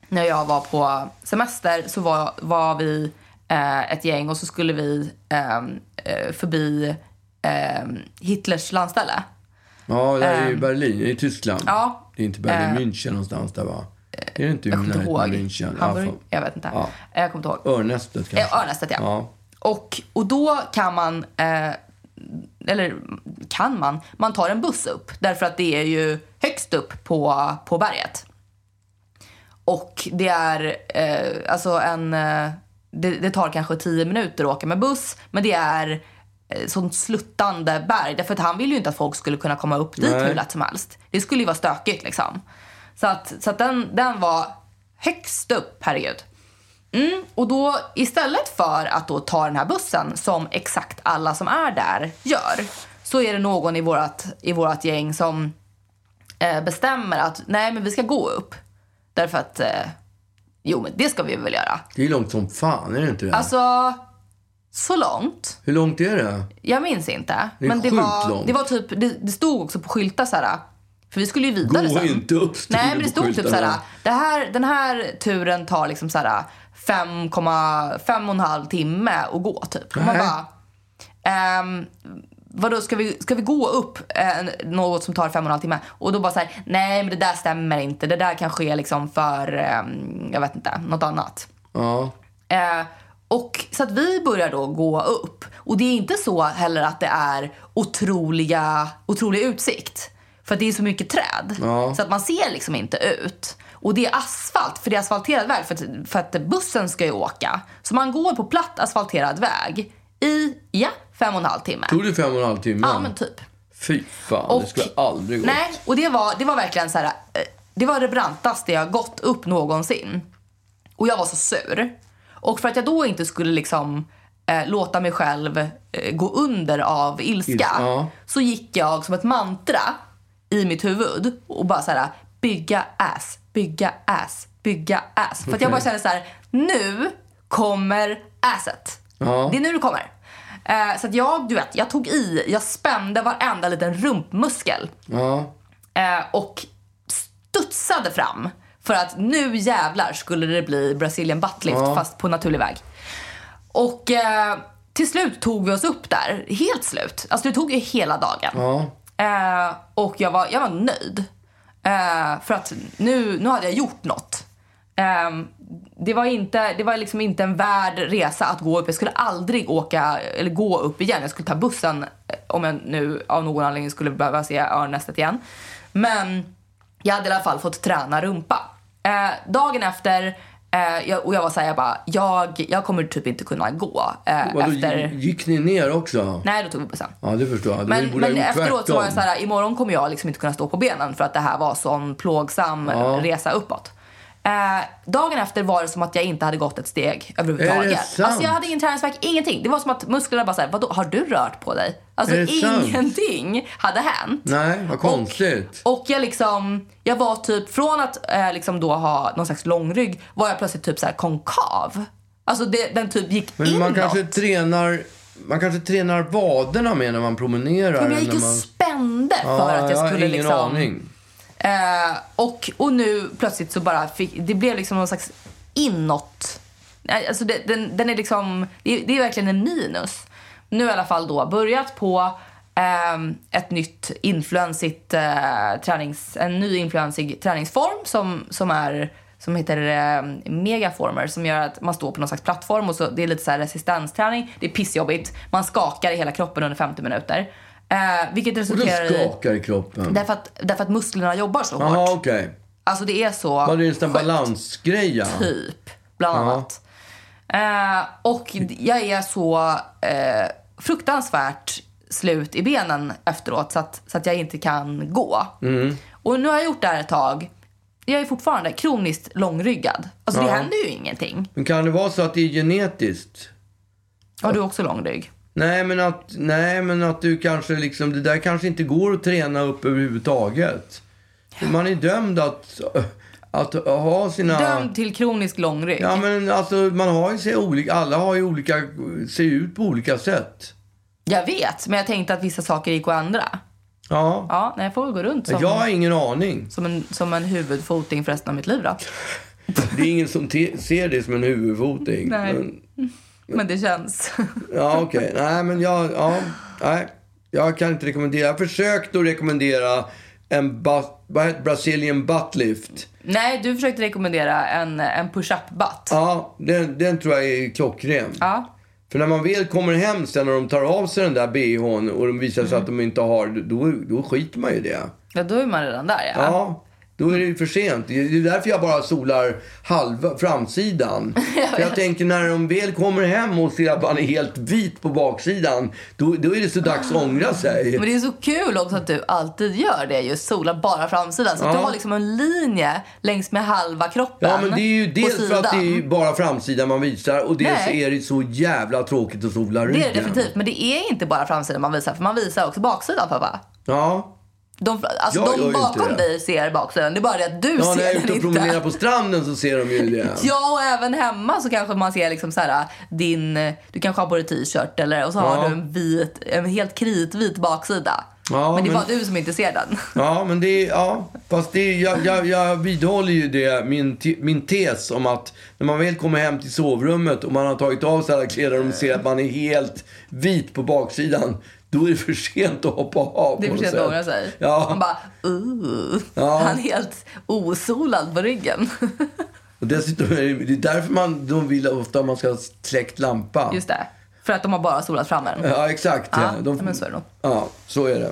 S2: när jag var på semester så var, var vi eh, ett gäng och så skulle vi ehm, eh, förbi ehm, Hitlers landställe.
S1: Ja, det är i Berlin, i Tyskland.
S2: Ehm. ja. ehm. Eh,
S1: Det är inte Berlin, München någonstans där va? Är det inte i
S2: Jag kommer inte
S1: närheten av
S2: ihåg.
S1: München? Ja,
S2: Hamburg?
S1: fan.
S2: Jag vet inte. Eh,
S1: Ja.
S2: Jag kommer inte ihåg.
S1: Örnästet kanske?
S2: Eh, Örnästet, ja.
S1: Ja.
S2: Och, och då kan man, eh, eller kan man, man tar en buss upp därför att det är ju högst upp på, på berget. Och det är eh, alltså en, eh, det, det tar kanske 10 minuter att åka med buss men det är eh, sånt sluttande berg därför att han ville ju inte att folk skulle kunna komma upp dit
S1: Nej.
S2: hur lätt som helst. Det skulle ju vara stökigt liksom. Så att, så att den, den var högst upp, herregud. Mm, Och då istället för att då ta den här bussen som exakt alla som är där gör så är det någon i vårat, i vårat gäng som eh, bestämmer att nej men vi ska gå upp. Därför att eh, jo men det ska vi väl göra.
S1: Det är långt som fan, är det inte det?
S2: Alltså så långt.
S1: Hur långt är det?
S2: Jag minns inte.
S1: Det är
S2: men det
S1: sjukt
S2: var,
S1: långt.
S2: det var typ, det, det stod också på skyltar så här. För vi skulle ju vidare
S1: Gå
S2: sen.
S1: inte upp, stod det
S2: Nej men det
S1: på
S2: stod typ
S1: skyltarna.
S2: så här. Det här, den här turen tar liksom så här 5,5 och en halv timme att gå typ. Och man
S1: Nej.
S2: bara, ehm, vadå ska vi, ska vi gå upp eh, en- något som tar fem och en halv timme? Och då bara så här, nej men det där stämmer inte. Det där kanske är liksom för, ehm, jag vet inte, något annat.
S1: Ja.
S2: Eh, och så att vi börjar då gå upp. Och det är inte så heller att det är otroliga, otrolig utsikt. För att det är så mycket träd.
S1: Ja.
S2: Så att man ser liksom inte ut. Och det är asfalt, för det är asfalterad väg för att, för att bussen ska ju åka. Så man går på platt asfalterad väg i, ja, fem och en halv timme.
S1: Tog det fem och en halv timme?
S2: Ja men typ.
S1: Fy fan, det skulle jag aldrig gå.
S2: Nej, och det var, det var verkligen så här. eh, Det var det brantaste jag gått upp någonsin. Och jag var så sur. Och för att jag då inte skulle liksom eh, låta mig själv eh, gå under av ilska.
S1: Ilska, ja.
S2: Så gick jag som ett mantra i mitt huvud och bara så här bygga ass, bygga ass, bygga ass. För att jag bara kände så här nu kommer asset.
S1: Ja.
S2: Det är nu det kommer. Eh, så att jag, du vet, jag tog i, jag spände varenda liten rumpmuskel
S1: Ja.
S2: eh, och studsade fram för att nu jävlar skulle det bli Brazilian buttlift fast på naturlig väg. Och eh, till slut tog vi oss upp där. Helt slut. Alltså det tog ju hela dagen.
S1: Ja.
S2: Eh, och jag var, jag var nöjd. Eh, för att nu, nu hade jag gjort något. Eh, det var, inte, det var liksom inte en värd resa att gå upp. Jag skulle aldrig åka eller gå upp igen. Jag skulle ta bussen eh, om jag nu av någon anledning skulle behöva se örnnästet igen. Men jag hade i alla fall fått träna rumpa. Eh, dagen efter, eh, jag, och jag var såhär, jag bara, jag, jag kommer typ inte kunna gå. Eh,
S1: Vadå,
S2: efter...
S1: gick ni ner också?
S2: Nej, då tog vi bussen.
S1: Ja, det förstår jag. Det
S2: Men,
S1: borde ha
S2: men
S1: gjort
S2: efteråt så var jag
S1: tvärtom.
S2: så här, imorgon kommer jag liksom inte kunna stå på benen för att det här var sån plågsam resa uppåt. Eh, dagen efter var det som att jag inte hade gått ett steg
S1: Är det
S2: överhuvudtaget.
S1: sant?
S2: Alltså jag hade ingen träningsvärk, ingenting. Det var som att musklerna bara såhär, vadå har du rört på dig? Alltså
S1: Är det sant?
S2: ingenting hade hänt.
S1: Nej, vad konstigt.
S2: Och jag liksom, jag var typ från att eh, liksom då ha någon slags långrygg var jag plötsligt typ så här konkav. Alltså det, den typ gick
S1: Men
S2: inåt.
S1: man kanske tränar... Man kanske tränar vaderna med när man promenerar.
S2: Men
S1: än
S2: jag gick
S1: när
S2: och
S1: man...
S2: spände för
S1: Ja,
S2: att jag
S1: har
S2: skulle
S1: ingen
S2: liksom...
S1: aning.
S2: Eh, och, och nu plötsligt så bara fick, det blev liksom någon slags inåt. Nej, Alltså det, den, den är liksom, det, är- det är verkligen en minus. Nu har jag i alla fall då börjat på ehm, ett nytt influensigt eh, tränings, en ny influensig träningsform som, som är som heter eh, megaformer som gör att man står på någon slags plattform och så, det är lite så här resistensträning. Det är pissjobbigt. Man skakar i hela kroppen under 50 minuter. Eh, vilket
S1: Och då
S2: resulterar i...
S1: skakar i kroppen.
S2: Därför att, därför att musklerna jobbar så hårt.
S1: Jaha, okej.
S2: Alltså det är så
S1: Var det just en
S2: sjukt,
S1: balansgrej, ja.
S2: typ, bland annat. Eh, och jag är så eh, fruktansvärt slut i benen efteråt så att, så att jag inte kan gå.
S1: Mm.
S2: Och nu har jag gjort det här ett tag. Jag är fortfarande kroniskt långryggad. Alltså det händer ju ingenting.
S1: Men kan det vara så att det är genetiskt?
S2: Har du också långrygg?
S1: Nej, men att, nej, men att du kanske liksom, det där kanske inte går att träna upp överhuvudtaget. Man är dömd att, att ha sina...
S2: Dömd till kronisk långrygg.
S1: Ja, men alltså man har ju sig olika, alla har ju olika, ser ut på olika sätt.
S2: Jag vet, men jag tänkte att vissa saker gick att ändra.
S1: Ja.
S2: Ja, nej, jag får väl gå runt som,
S1: Jag har ingen aning.
S2: som, en, som en huvudfoting för resten av mitt liv då.
S1: Det är ingen som te- ser det som en huvudfoting.
S2: Nej.
S1: Men,
S2: Men det känns.
S1: ja, okej. Nej, men jag, ja, nej. Jag kan inte rekommendera. Jag har försökt att rekommendera en ba- vad heter- Brazilian butt lift.
S2: Nej, du försökte rekommendera en, en push-up butt.
S1: Ja, den, den tror jag är klockren.
S2: Ja.
S1: För när man väl kommer hem sen och de tar av sig den där bhn och de visar sig att de inte har, då, då skiter man ju i det.
S2: ja, då är man redan där ja.
S1: Ja, då är det ju för sent. Det är därför jag bara solar halva framsidan. För jag tänker när de väl kommer hem och ser att man är helt vit på baksidan, då, då är det så dags att ångra sig.
S2: Men det är så kul också att du alltid gör det just sola bara framsidan. Så att du
S1: Ja.
S2: har liksom en linje längs med halva kroppen
S1: Ja, men det är ju
S2: på
S1: dels för att det är ju
S2: sidan.
S1: bara framsidan man visar och dels
S2: Nej.
S1: är det så jävla tråkigt att sola
S2: det
S1: ryggen.
S2: är det definitivt, men det är inte bara framsidan man visar, för man visar också baksidan pappa.
S1: Ja.
S2: De, alltså,
S1: Jag gör
S2: de
S1: ju
S2: bakom
S1: inte det.
S2: dig ser baksidan, det är bara det att du
S1: Ja, när
S2: ser
S1: jag är
S2: den
S1: ute och
S2: inte.
S1: promenerar på stranden så ser de ju det.
S2: (laughs) Ja, och även hemma så kanske man ser liksom så här, din, du kanske har på dig t-shirt eller, och så har
S1: Ja.
S2: du en, vit, en helt kritvit baksida.
S1: Ja,
S2: men det är
S1: men-
S2: bara du som inte ser den. (laughs)
S1: Ja, men det är, ja. Fast det är, jag, jag, jag vidhåller ju det, min, te, min tes om att när man väl kommer hem till sovrummet och man har tagit av sig alla kläder och de ser att man är helt vit på baksidan, då är det för sent att hoppa av.
S2: Det är
S1: på
S2: för
S1: något
S2: sent att
S1: sätt.
S2: ångra sig.
S1: Ja,
S2: Man bara, uh,
S1: Ja.
S2: (laughs) han är helt osolad på ryggen. (laughs)
S1: och dessutom är det, det är därför man, de vill ofta att man ska ha släckt lampa.
S2: Just det. För att de har bara solat fram den.
S1: Ja, exakt.
S2: Ja,
S1: de,
S2: men så är det nog.
S1: Ja, så är det.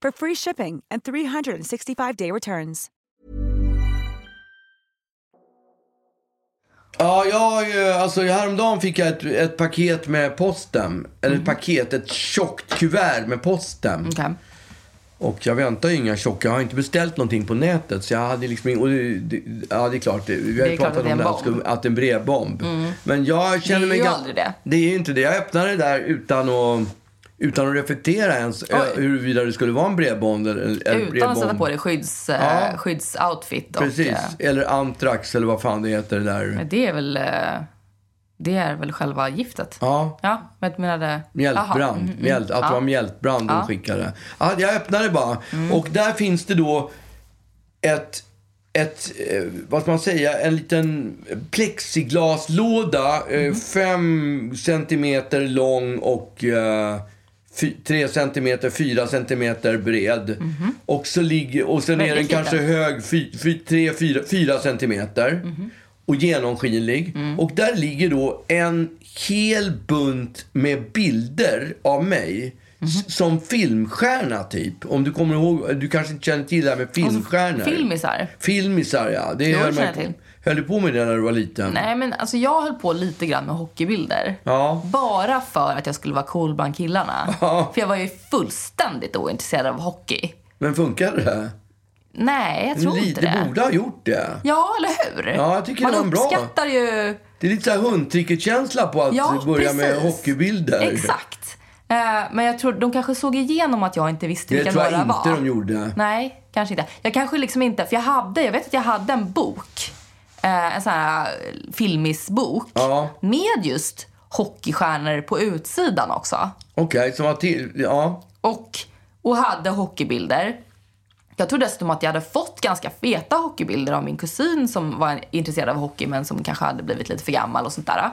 S3: for free shipping and 365-day returns.
S1: Ja, jag har ju, alltså häromdagen fick jag ett, ett paket med posten. Eller ett paket, ett tjockt kuvert med posten.
S2: Mm. Okej.
S1: Och jag väntar ju inga tjocka. Jag har inte beställt någonting på nätet. Så jag hade liksom ing- och det, det, Ja, det är klart. Det, vi har
S2: Det
S1: ju
S2: är klart
S1: pratat
S2: att det är
S1: om det här,
S2: en bomb. Mm.
S1: skum- att det är en brevbomb. Men jag känner
S2: Det är
S1: mig
S2: ju
S1: gans-
S2: aldrig det.
S1: Det är ju inte det. Jag öppnade det där utan att, utan att reflektera ens ö, huruvida det skulle vara en brevbomb. Eller, eller
S2: Utan att
S1: brevbomb.
S2: sätta på dig skydds, eh, skyddsoutfit. Och,
S1: Precis.
S2: eh,
S1: Eller antrax eller vad fan det heter det där.
S2: men det är väl... eh, Det är väl själva giftet?
S1: Ja.
S2: Ja, men jag menade... Jaha.
S1: Mjältbrand.
S2: Mm, mm,
S1: Mjält, att det
S2: ja. Mm.
S1: var mjältbrand de skickade. Ja, jag öppnade bara. Och där finns det då ett, ett eh, vad ska man säga, en liten plexiglaslåda.
S2: Mm.
S1: Eh, fem centimeter lång och eh, fy, tre centimeter, fyra centimeter bred. Och, så ligger, och sen är den
S2: Mm-hmm. Väldigt
S1: kanske
S2: liten.
S1: hög fy, fy, tre, fyra, fyra centimeter.
S2: Mm-hmm.
S1: Och genomskinlig.
S2: Mm.
S1: Och där ligger då en hel bunt med bilder av mig.
S2: Mm-hmm.
S1: s- Som filmstjärna typ. Om du kommer ihåg, du kanske inte känner till det här med filmstjärnor.
S2: Filmisar.
S1: Filmisar ja. Det
S2: Jo,
S1: höll,
S2: känner
S1: man,
S2: jag till.
S1: höll du på med det när du var liten?
S2: Nej, men alltså jag höll på lite grann med hockeybilder.
S1: Ja.
S2: Bara för att jag skulle vara cool bland killarna.
S1: Ja.
S2: För jag var ju fullständigt ointresserad av hockey.
S1: Men funkar det?
S2: Nej, jag tror inte det.
S1: det borde ha gjort det.
S2: Ja, eller hur?
S1: Ja, jag tycker
S2: Man
S1: det var en bra.
S2: uppskattar ju...
S1: Det är lite så här hundtricket-känsla på att
S2: Ja,
S1: börja
S2: precis.
S1: med hockeybilder.
S2: Exakt. Eh, Men jag tror de kanske såg igenom att jag inte visste
S1: Det
S2: vilka
S1: tror jag
S2: några
S1: inte
S2: var.
S1: de gjorde.
S2: Nej, kanske inte. Jag kanske liksom inte, för jag hade, jag vet att jag hade en bok. eh, En sån här eh, filmisbok.
S1: Ja.
S2: Med just hockeystjärnor på utsidan också.
S1: Okej, som var till... Ja.
S2: Och, och hade hockeybilder. Jag tror dessutom att jag hade fått ganska feta hockeybilder av min kusin som var intresserad av hockey men som kanske hade blivit lite för gammal och sånt där.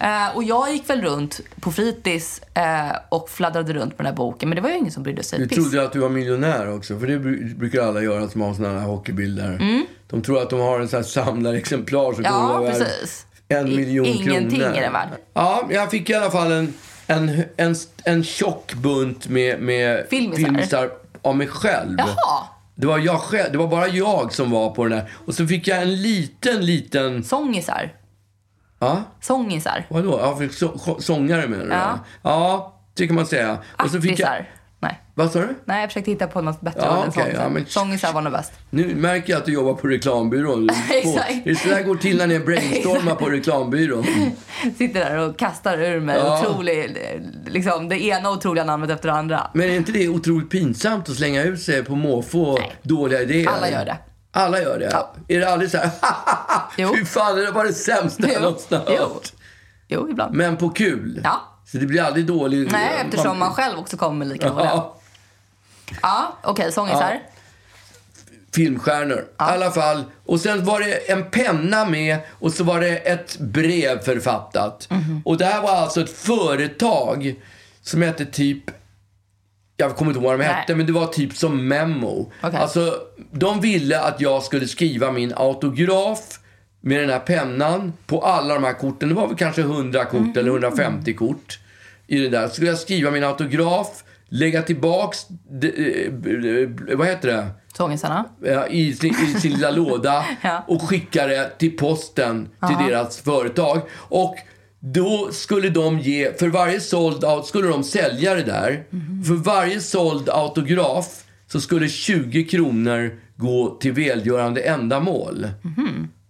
S2: Eh, och jag gick väl runt på fritids eh, och fladdrade runt med den här boken men det var ju ingen som brydde sig
S1: Du
S2: ett piss.
S1: trodde att du var miljonär också, för det bru- brukar alla göra som har såna här hockeybilder. De tror att de har en sån här samlarexemplar som kommer
S2: Mm. Ja,
S1: vara värd
S2: precis.
S1: en
S2: I-
S1: miljon kronor.
S2: ingenting är den värd.
S1: Ja, jag fick i alla fall en, en, en, en tjock bunt med, med
S2: Filmisar.
S1: av mig själv.
S2: Jaha!
S1: Det var, jag själv, det var bara jag som var på den här. Och så fick jag en liten, liten...
S2: Sångisar.
S1: Ja?
S2: Sångisar.
S1: Vadå? Ja, för så, så- sångare menar du?
S2: Ja.
S1: ja, det kan man säga. Och så fick jag,
S2: Artisar. Nej.
S1: vad sa du?
S2: Nej, jag försökte hitta på något bättre
S1: Ja,
S2: ord än
S1: okej,
S2: sångisar.
S1: ja, men-
S2: Sångisar var nog bäst.
S1: Nu märker jag att du jobbar på
S2: (laughs)
S1: reklambyrån.
S2: Exakt.
S1: Det är så där går till när ni brainstormar
S2: (laughs)
S1: på reklambyrån.
S2: Sitter där och kastar ur mig
S1: Ja.
S2: otrolig, liksom, det ena otroliga namnet efter det andra.
S1: Men är inte det otroligt pinsamt att slänga ut sig på måfå och dåliga idéer?
S2: Alla gör det.
S1: Alla gör det?
S2: Ja.
S1: Är det aldrig så här, (laughs)
S2: Jo.
S1: fy fan, det där var det sämsta jag någonsin har
S2: jo.
S1: hört.
S2: jo, ibland.
S1: Men på kul.
S2: Ja.
S1: Så det blir aldrig dålig... eh,
S2: Nej, eftersom man själv också kommer med lika dåliga. Ja,
S1: Ja,
S2: okej, sångisar.
S1: filmstjärnor. I alla fall. Och sen var det en penna med och så var det ett brev författat.
S2: Mhm.
S1: Och det här var alltså ett företag som hette typ jag kommer inte ihåg vad de
S2: Nej.
S1: hette, men det var typ som Memo.
S2: Okej.
S1: Alltså, de ville att jag skulle skriva min autograf med den här pennan på alla de här korten. Det var väl kanske 100 kort
S2: Mhm.
S1: eller 150 kort i det där. Så skulle jag skriva min autograf, lägga tillbaks, de- eh, vad heter det?
S2: Sångisarna.
S1: eh, i sin, i sin lilla låda
S2: Ja.
S1: och skickade det till posten till deras företag. Och då skulle de ge, för varje såld, au- skulle de sälja det där. För varje såld autograf så skulle 20 kronor gå till välgörande ändamål.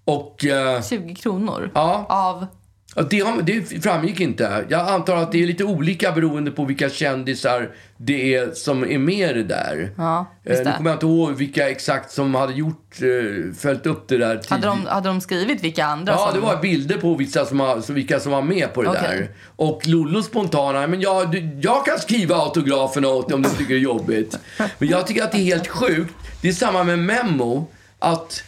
S1: Och eh,
S2: 20 kronor.
S1: Ja.
S2: Av...
S1: ja, det, har- det framgick inte. Jag antar att det är lite olika beroende på vilka kändisar det är som är med i det där.
S2: Ja,
S1: Eh,
S2: just
S1: nu
S2: det.
S1: kommer jag inte ihåg vilka exakt som hade gjort, eh, följt upp det där tidigt.
S2: Hade, de, hade de skrivit vilka andra
S1: Ja,
S2: som...
S1: det var bilder på vissa som, har- så vilka som var med på det
S2: Okej.
S1: där. Och Lollo spontana, men jag, du, jag kan skriva autograferna åt dig om du tycker det är
S2: (laughs)
S1: jobbigt. Men jag tycker att det är helt sjukt. Det är samma med Memo. Att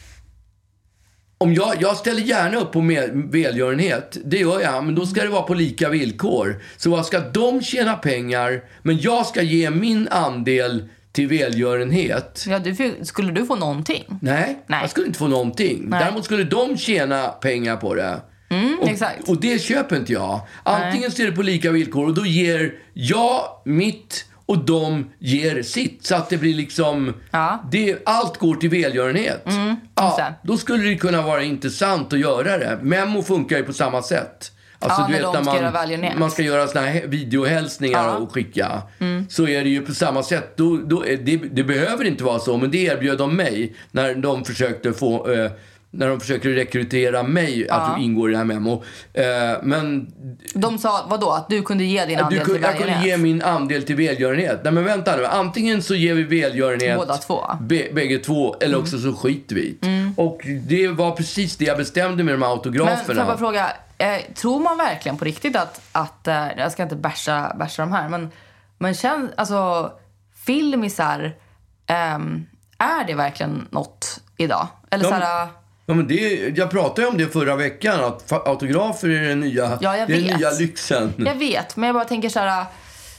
S1: om jag, jag ställer gärna upp på med, välgörenhet, det gör jag, men då ska det vara på lika villkor. Så vad ska de tjäna pengar, men jag ska ge min andel till välgörenhet.
S2: Ja, du fick, skulle du få någonting?
S1: Nej,
S2: Nej.
S1: jag skulle inte få någonting.
S2: Nej. Mm,
S1: Däremot skulle de tjäna pengar på det. och,
S2: exakt.
S1: och det köper inte jag. Antingen ser det på lika villkor och då ger jag mitt och de ger sitt. Så att det blir liksom...
S2: Ja. Mm,
S1: Det, allt går till välgörenhet.
S2: det.
S1: ja, då skulle det kunna vara intressant att göra det. Memo funkar ju på samma sätt. Alltså,
S2: Ja, när de ska göra välgörenhet.
S1: man ska göra såna här videohälsningar
S2: Ja. Mm.
S1: och skicka. Så är det ju på samma sätt. Då, då, är- det, det behöver inte vara så, men det erbjöd de mig när de försökte få... Eh, när de försöker rekrytera mig att ingå i det här memo. Eh, men
S2: De sa vadå? Att du kunde ge din
S1: du
S2: andel
S1: kunde,
S2: till
S1: jag kunde ge
S2: välgörenhet?
S1: min andel till välgörenhet. Nej men vänta nu. Antingen så ger vi välgörenhet.
S2: Båda två. Mm.
S1: Be, bägge två. Eller också så skiter vi Och det var precis det jag bestämde med de här
S2: Men får
S1: autograferna.
S2: jag bara fråga, eh, tror man verkligen på riktigt att, att eh, jag ska inte basha, basha de här, men, men känns, alltså filmisar, ehm, är det verkligen något idag? Eller eh,
S1: De-
S2: såhär,
S1: Ja, men det, jag pratade ju om det förra veckan, att fa- autografer är den nya,
S2: Ja, jag
S1: det är den
S2: vet.
S1: nya lyxen.
S2: jag vet, men jag bara tänker såhär,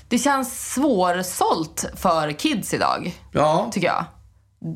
S2: det känns svårsålt för kids idag,
S1: Ja,
S2: tycker jag.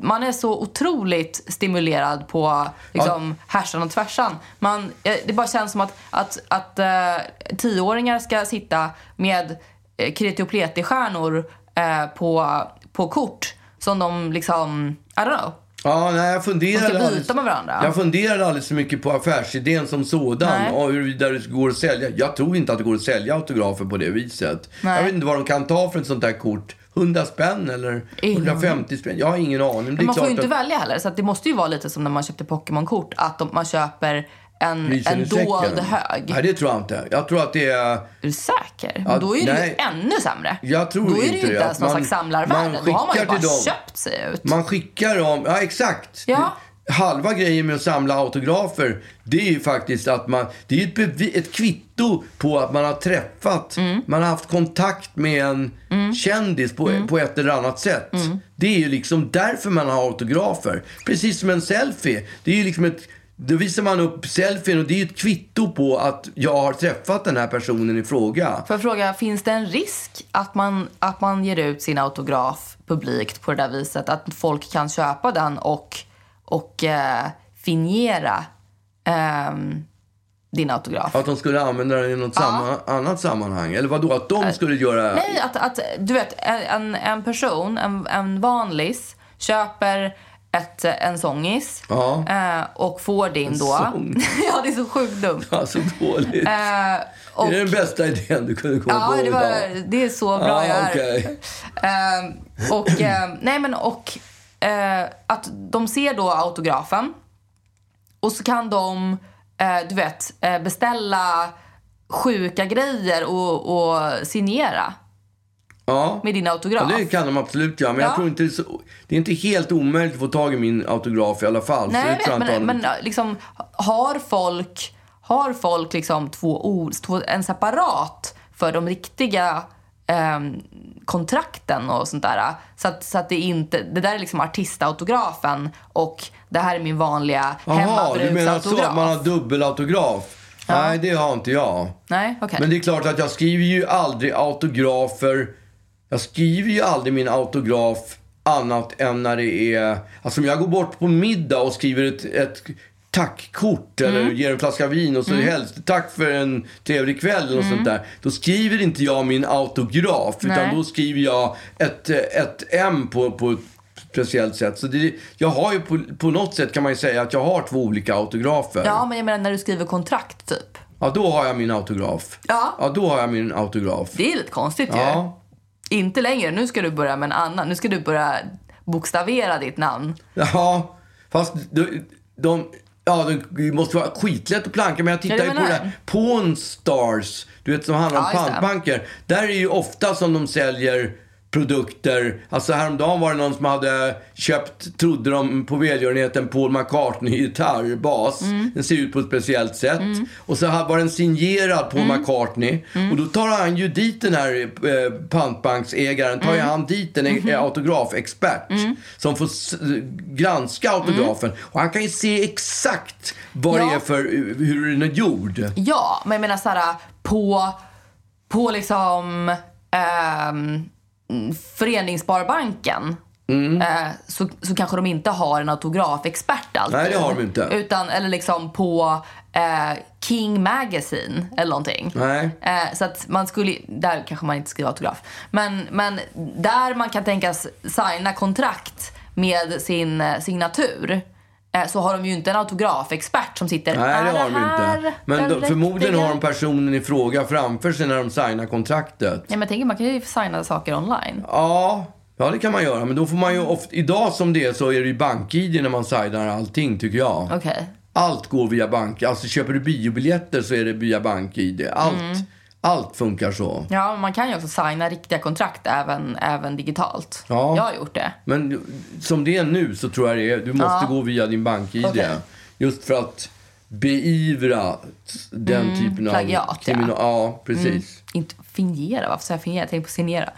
S2: Man är så otroligt stimulerad på liksom, härsan och tvärsan. Man, eh, det bara känns som att, att, att eh, tioåringar ska sitta med eh, kreti och pleti-stjärnor eh, på, på kort som de liksom, I don't know.
S1: ja nej, jag
S2: De
S1: funderade
S2: ska byta med varandra.
S1: Jag funderade aldrig så mycket på affärsidén som sådan
S2: Nej.
S1: och huruvida det går att sälja. Jag tror inte att det går att sälja autografer på det viset.
S2: Nej.
S1: Jag vet inte vad de kan ta för ett sånt där kort. 100 spänn eller
S2: Ingen
S1: 150 spänn? Jag har ingen aning. Det är
S2: Man får
S1: klart
S2: ju inte
S1: att-
S2: välja heller. Så att det måste ju vara lite som när man köpte Pokémon-kort. Att de, man köper en,
S1: grisen
S2: en
S1: i säcken.
S2: dold hög.
S1: Nej, det tror jag inte. Jag tror att det är...
S2: Är du säker?
S1: Ja,
S2: då är det
S1: nej.
S2: ju ännu sämre.
S1: Jag tror
S2: då är det
S1: inte
S2: ju
S1: det.
S2: inte ens någon
S1: Man-
S2: slags samlarvärde.
S1: man
S2: Då har man ju
S1: skickar
S2: bara
S1: till dem.
S2: köpt sig ut.
S1: Man skickar dem, ja exakt.
S2: Ja.
S1: Halva grejen med att samla autografer, det är ju faktiskt att man, det är ju ett, bevi, ett kvitto på att man har träffat, man har haft kontakt med en kändis på, på ett eller annat sätt. Det är ju liksom därför man har autografer. Precis som en selfie. Det är ju liksom ett, då visar man upp selfien och det är ju ett kvitto på att jag har träffat den här personen i fråga.
S2: Får jag fråga, finns det en risk att man, att man ger ut sin autograf publikt på det där viset? Att folk kan köpa den och, och eh, finiera ehm, din autograf?
S1: Att de skulle använda den i något samma, annat sammanhang? Eller vadå? Att de skulle göra...
S2: Nej, att, att du vet, en, en person, en, en vanlis, köper ett, en sångis
S1: Ja.
S2: eh, och får din då.
S1: sång?
S2: (laughs) ja, det är så sjukt dumt.
S1: Ja, så dåligt.
S2: Eh, och,
S1: Det är den bästa idén du kunde komma
S2: ja,
S1: på
S2: det, var,
S1: idag. Ah,
S2: det är så bra jag är.
S1: okej.
S2: Ehm, och, eh, nej men och eh, att de ser då autografen och så kan de, eh, du vet, eh, beställa sjuka grejer och, och signera
S1: Ja.
S2: med din autograf.
S1: ja, det kan de absolut göra. Men jag
S2: Ja.
S1: tror inte det är, så, det är inte helt omöjligt att få tag i min autograf i alla fall.
S2: Nej,
S1: så det
S2: jag
S1: tror
S2: vet,
S1: jag inte
S2: men,
S1: har
S2: men
S1: något-
S2: liksom, har folk, har folk liksom två ord, två, en separat för de riktiga ehm, kontrakten och sånt där? Så att, så att det inte, det där är liksom artistautografen och det här är min vanliga
S1: Jaha, du menar så?
S2: hemmabruksautograf.
S1: Att man har dubbelautograf? Nej, det har inte jag.
S2: Nej, okej.
S1: Men det är klart att jag skriver ju aldrig autografer. Jag skriver ju aldrig min autograf annat än när det är... Alltså om jag går bort på middag och skriver ett, ett tackkort
S2: Mm.
S1: eller ger en flaska vin och så mm. tack för en trevlig kväll eller något sånt där. Då skriver inte jag min autograf
S2: Mm. Nej.
S1: utan då skriver jag ett, eh, ett M på, på ett speciellt sätt. Så det, jag har ju på, på något sätt kan man ju säga att jag har två olika autografer.
S2: Ja, men jag menar när du skriver kontrakt typ.
S1: Ja, då har jag min autograf.
S2: Ja.
S1: Ja, då har jag min autograf.
S2: Det är lite konstigt
S1: Ja.
S2: ju. Inte längre, nu ska du börja med en annan. Nu ska du börja bokstavera ditt namn.
S1: Ja, fast de... de ja, det måste vara skitlätt att planka. Men jag tittar
S2: Ja,
S1: ju
S2: det
S1: på det
S2: menar
S1: här Pawn Stars, du vet som handlar om
S2: Ja, just det.
S1: pantbanker. Där är ju ofta som de säljer produkter. Alltså häromdagen var det någon som hade köpt, trodde de på välgörenhet, en Paul McCartney-gitarrbas. Den ser ut på ett speciellt sätt. Och så här var den signerad Paul McCartney. Och då tar han ju dit den här eh, pantbanksägaren, tar ju han dit en eh, autografexpert som får s- granska autografen. Och han kan ju se exakt vad det
S2: Ja.
S1: är för, eh, hur den är gjord.
S2: Ja, men jag menar såhär på, på liksom ehm, mm, Föreningssparbanken
S1: Mm.
S2: eh, så, så kanske de inte har en autografexpert alltid.
S1: Nej, det har de inte.
S2: Utan, eller liksom på eh, King Magazine eller någonting.
S1: Nej.
S2: Eh, så att man skulle, där kanske man inte skriver autograf. Men, men där man kan tänkas signa kontrakt med sin eh, signatur eh, så har de ju inte en autografexpert som sitter
S1: Nej, det
S2: "Är
S1: har de inte.
S2: här
S1: Men
S2: den
S1: de, förmodligen
S2: riktiga?"
S1: har de personen i fråga framför sig när de signar kontraktet.
S2: Nej, men jag tänker man kan ju signa saker online.
S1: Ja, ja det kan man göra. Men då får man
S2: Mm.
S1: ju ofta... Idag som det är så är det ju bank-id när man signar allting, tycker jag.
S2: Okej.
S1: Allt går via bank. Alltså köper du biobiljetter så är det via bank-id. Allt,
S2: Mm.
S1: allt funkar så.
S2: Ja, men man kan ju också signa riktiga kontrakt även, även digitalt.
S1: Ja.
S2: Jag har gjort det.
S1: Men du- som det är nu så tror jag det är, du måste gå via din bank-id.
S2: Okej.
S1: Just för att beivra t- den typen av...
S2: Mm, plagiat, ja. Mm.
S1: krimina- ja, precis.
S2: Inte fingera, varför sa jag fingera? Jag tänkte på signera.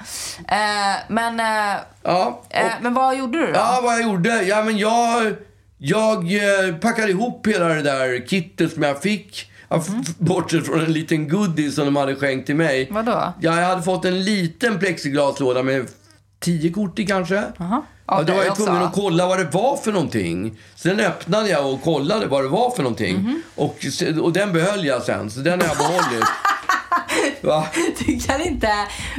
S2: Eh, men, eh,
S1: Ja, och-
S2: eh, men vad gjorde du då?
S1: Ja, vad jag gjorde? Ja, men jag, jag eh, packade ihop hela det där kittet som jag fick. Ja, f-
S2: Mm.
S1: f- Bortsett från en liten goodie som de hade skänkt till mig.
S2: Vadå?
S1: Ja, jag hade fått en liten plexiglaslåda med tio kort i kanske. Ja,
S2: Av
S1: då var
S2: dig
S1: jag
S2: också.
S1: tvungen att kolla vad det var för någonting. Sen öppnade jag och kollade vad det var för någonting.
S2: Mhm.
S1: Och, se- och den behöll jag sen, så den har jag behållit. Va?
S2: (laughs) Du kan inte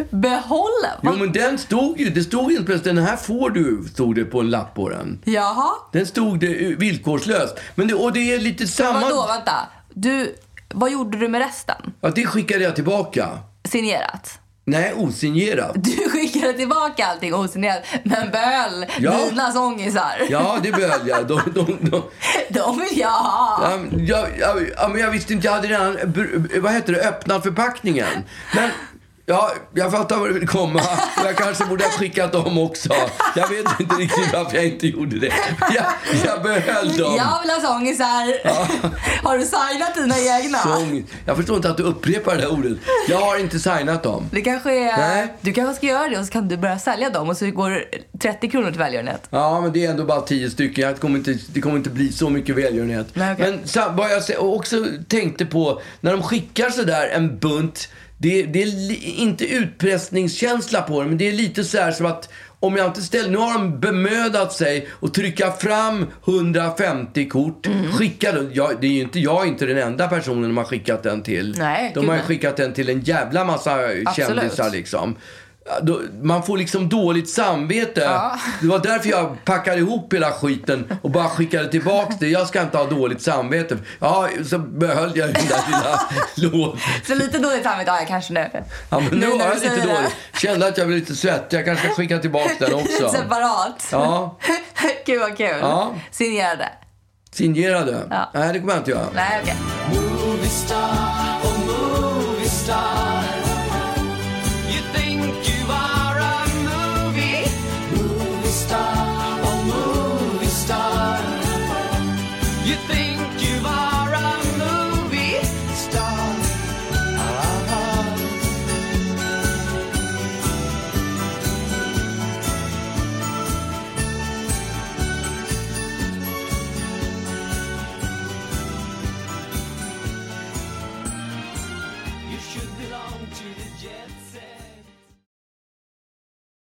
S2: behålla?
S1: Jo,
S2: Va?
S1: men den stod ju. Det stod helt plötsligt, den här får du, stod det på en lapp på den.
S2: Jaha?
S1: Den stod det villkorslöst. Men det, och det är lite samma...
S2: Vadå, vänta. Du, vad gjorde du med resten?
S1: Ja, det skickade jag tillbaka.
S2: Signerat?
S1: Nej, osignerat.
S2: Du (laughs) skickade tillbaka allting osignerat, men behöll
S1: Ja.
S2: dina sångisar.
S1: Ja, det behöll jag. De, de, de,
S2: (laughs) De vill jag ha.
S1: ja, men jag, jag, ja, men jag visste inte, jag hade redan, br- vad heter det, öppnat förpackningen. Men, ja, jag fattar var du vill komma. Jag kanske borde ha skickat dem också. Jag vet inte riktigt varför jag inte gjorde det. Jag, jag behöll dem.
S2: Jag vill ha sångisar. (laughs) Har du signat dina egna?
S1: Sång. Jag förstår inte att du upprepar det här ordet. Jag har inte signat dem.
S2: Det kanske är...
S1: Nej.
S2: Du kanske ska göra det och så kan du börja sälja dem och så går 30 kronor till välgörenhet.
S1: Ja, men det är ändå bara tio stycken. Jag kommer inte, det kommer inte bli så mycket välgörenhet.
S2: Nej, okej.
S1: Men sam- vad jag se- och också tänkte på, när de skickar sådär en bunt, det, det är li- inte utpressningskänsla på det, men det är lite så här som att om jag inte ställer... Nu har de bemödat sig och trycka fram 150 kort.
S2: Mm.
S1: Skicka dem. Jag, det är ju inte, jag är inte den enda personen de har skickat den till.
S2: Nej,
S1: de
S2: gud,
S1: har ju
S2: nej.
S1: skickat den till en jävla massa kändisar liksom. Då, man får liksom dåligt samvete. Det var därför jag packade ihop hela skiten och bara skickade tillbaka det. Jag ska inte ha dåligt samvete. Ja, så behöll jag den där lilla (laughs) lådan.
S2: Så lite dåligt samvete har jag kanske nu.
S1: Ja, men nu
S2: när
S1: var
S2: du
S1: jag lite
S2: säger det.
S1: dåligt. Kände att jag blev lite svettig. Jag kanske ska skicka tillbaka den också.
S2: (laughs) Separat.
S1: Ja,
S2: Gud vad kul.
S1: Ja.
S2: Signerade.
S1: signerade.
S2: Ja.
S1: Nej, det kommer jag inte göra.
S2: Nej, okej.
S4: You think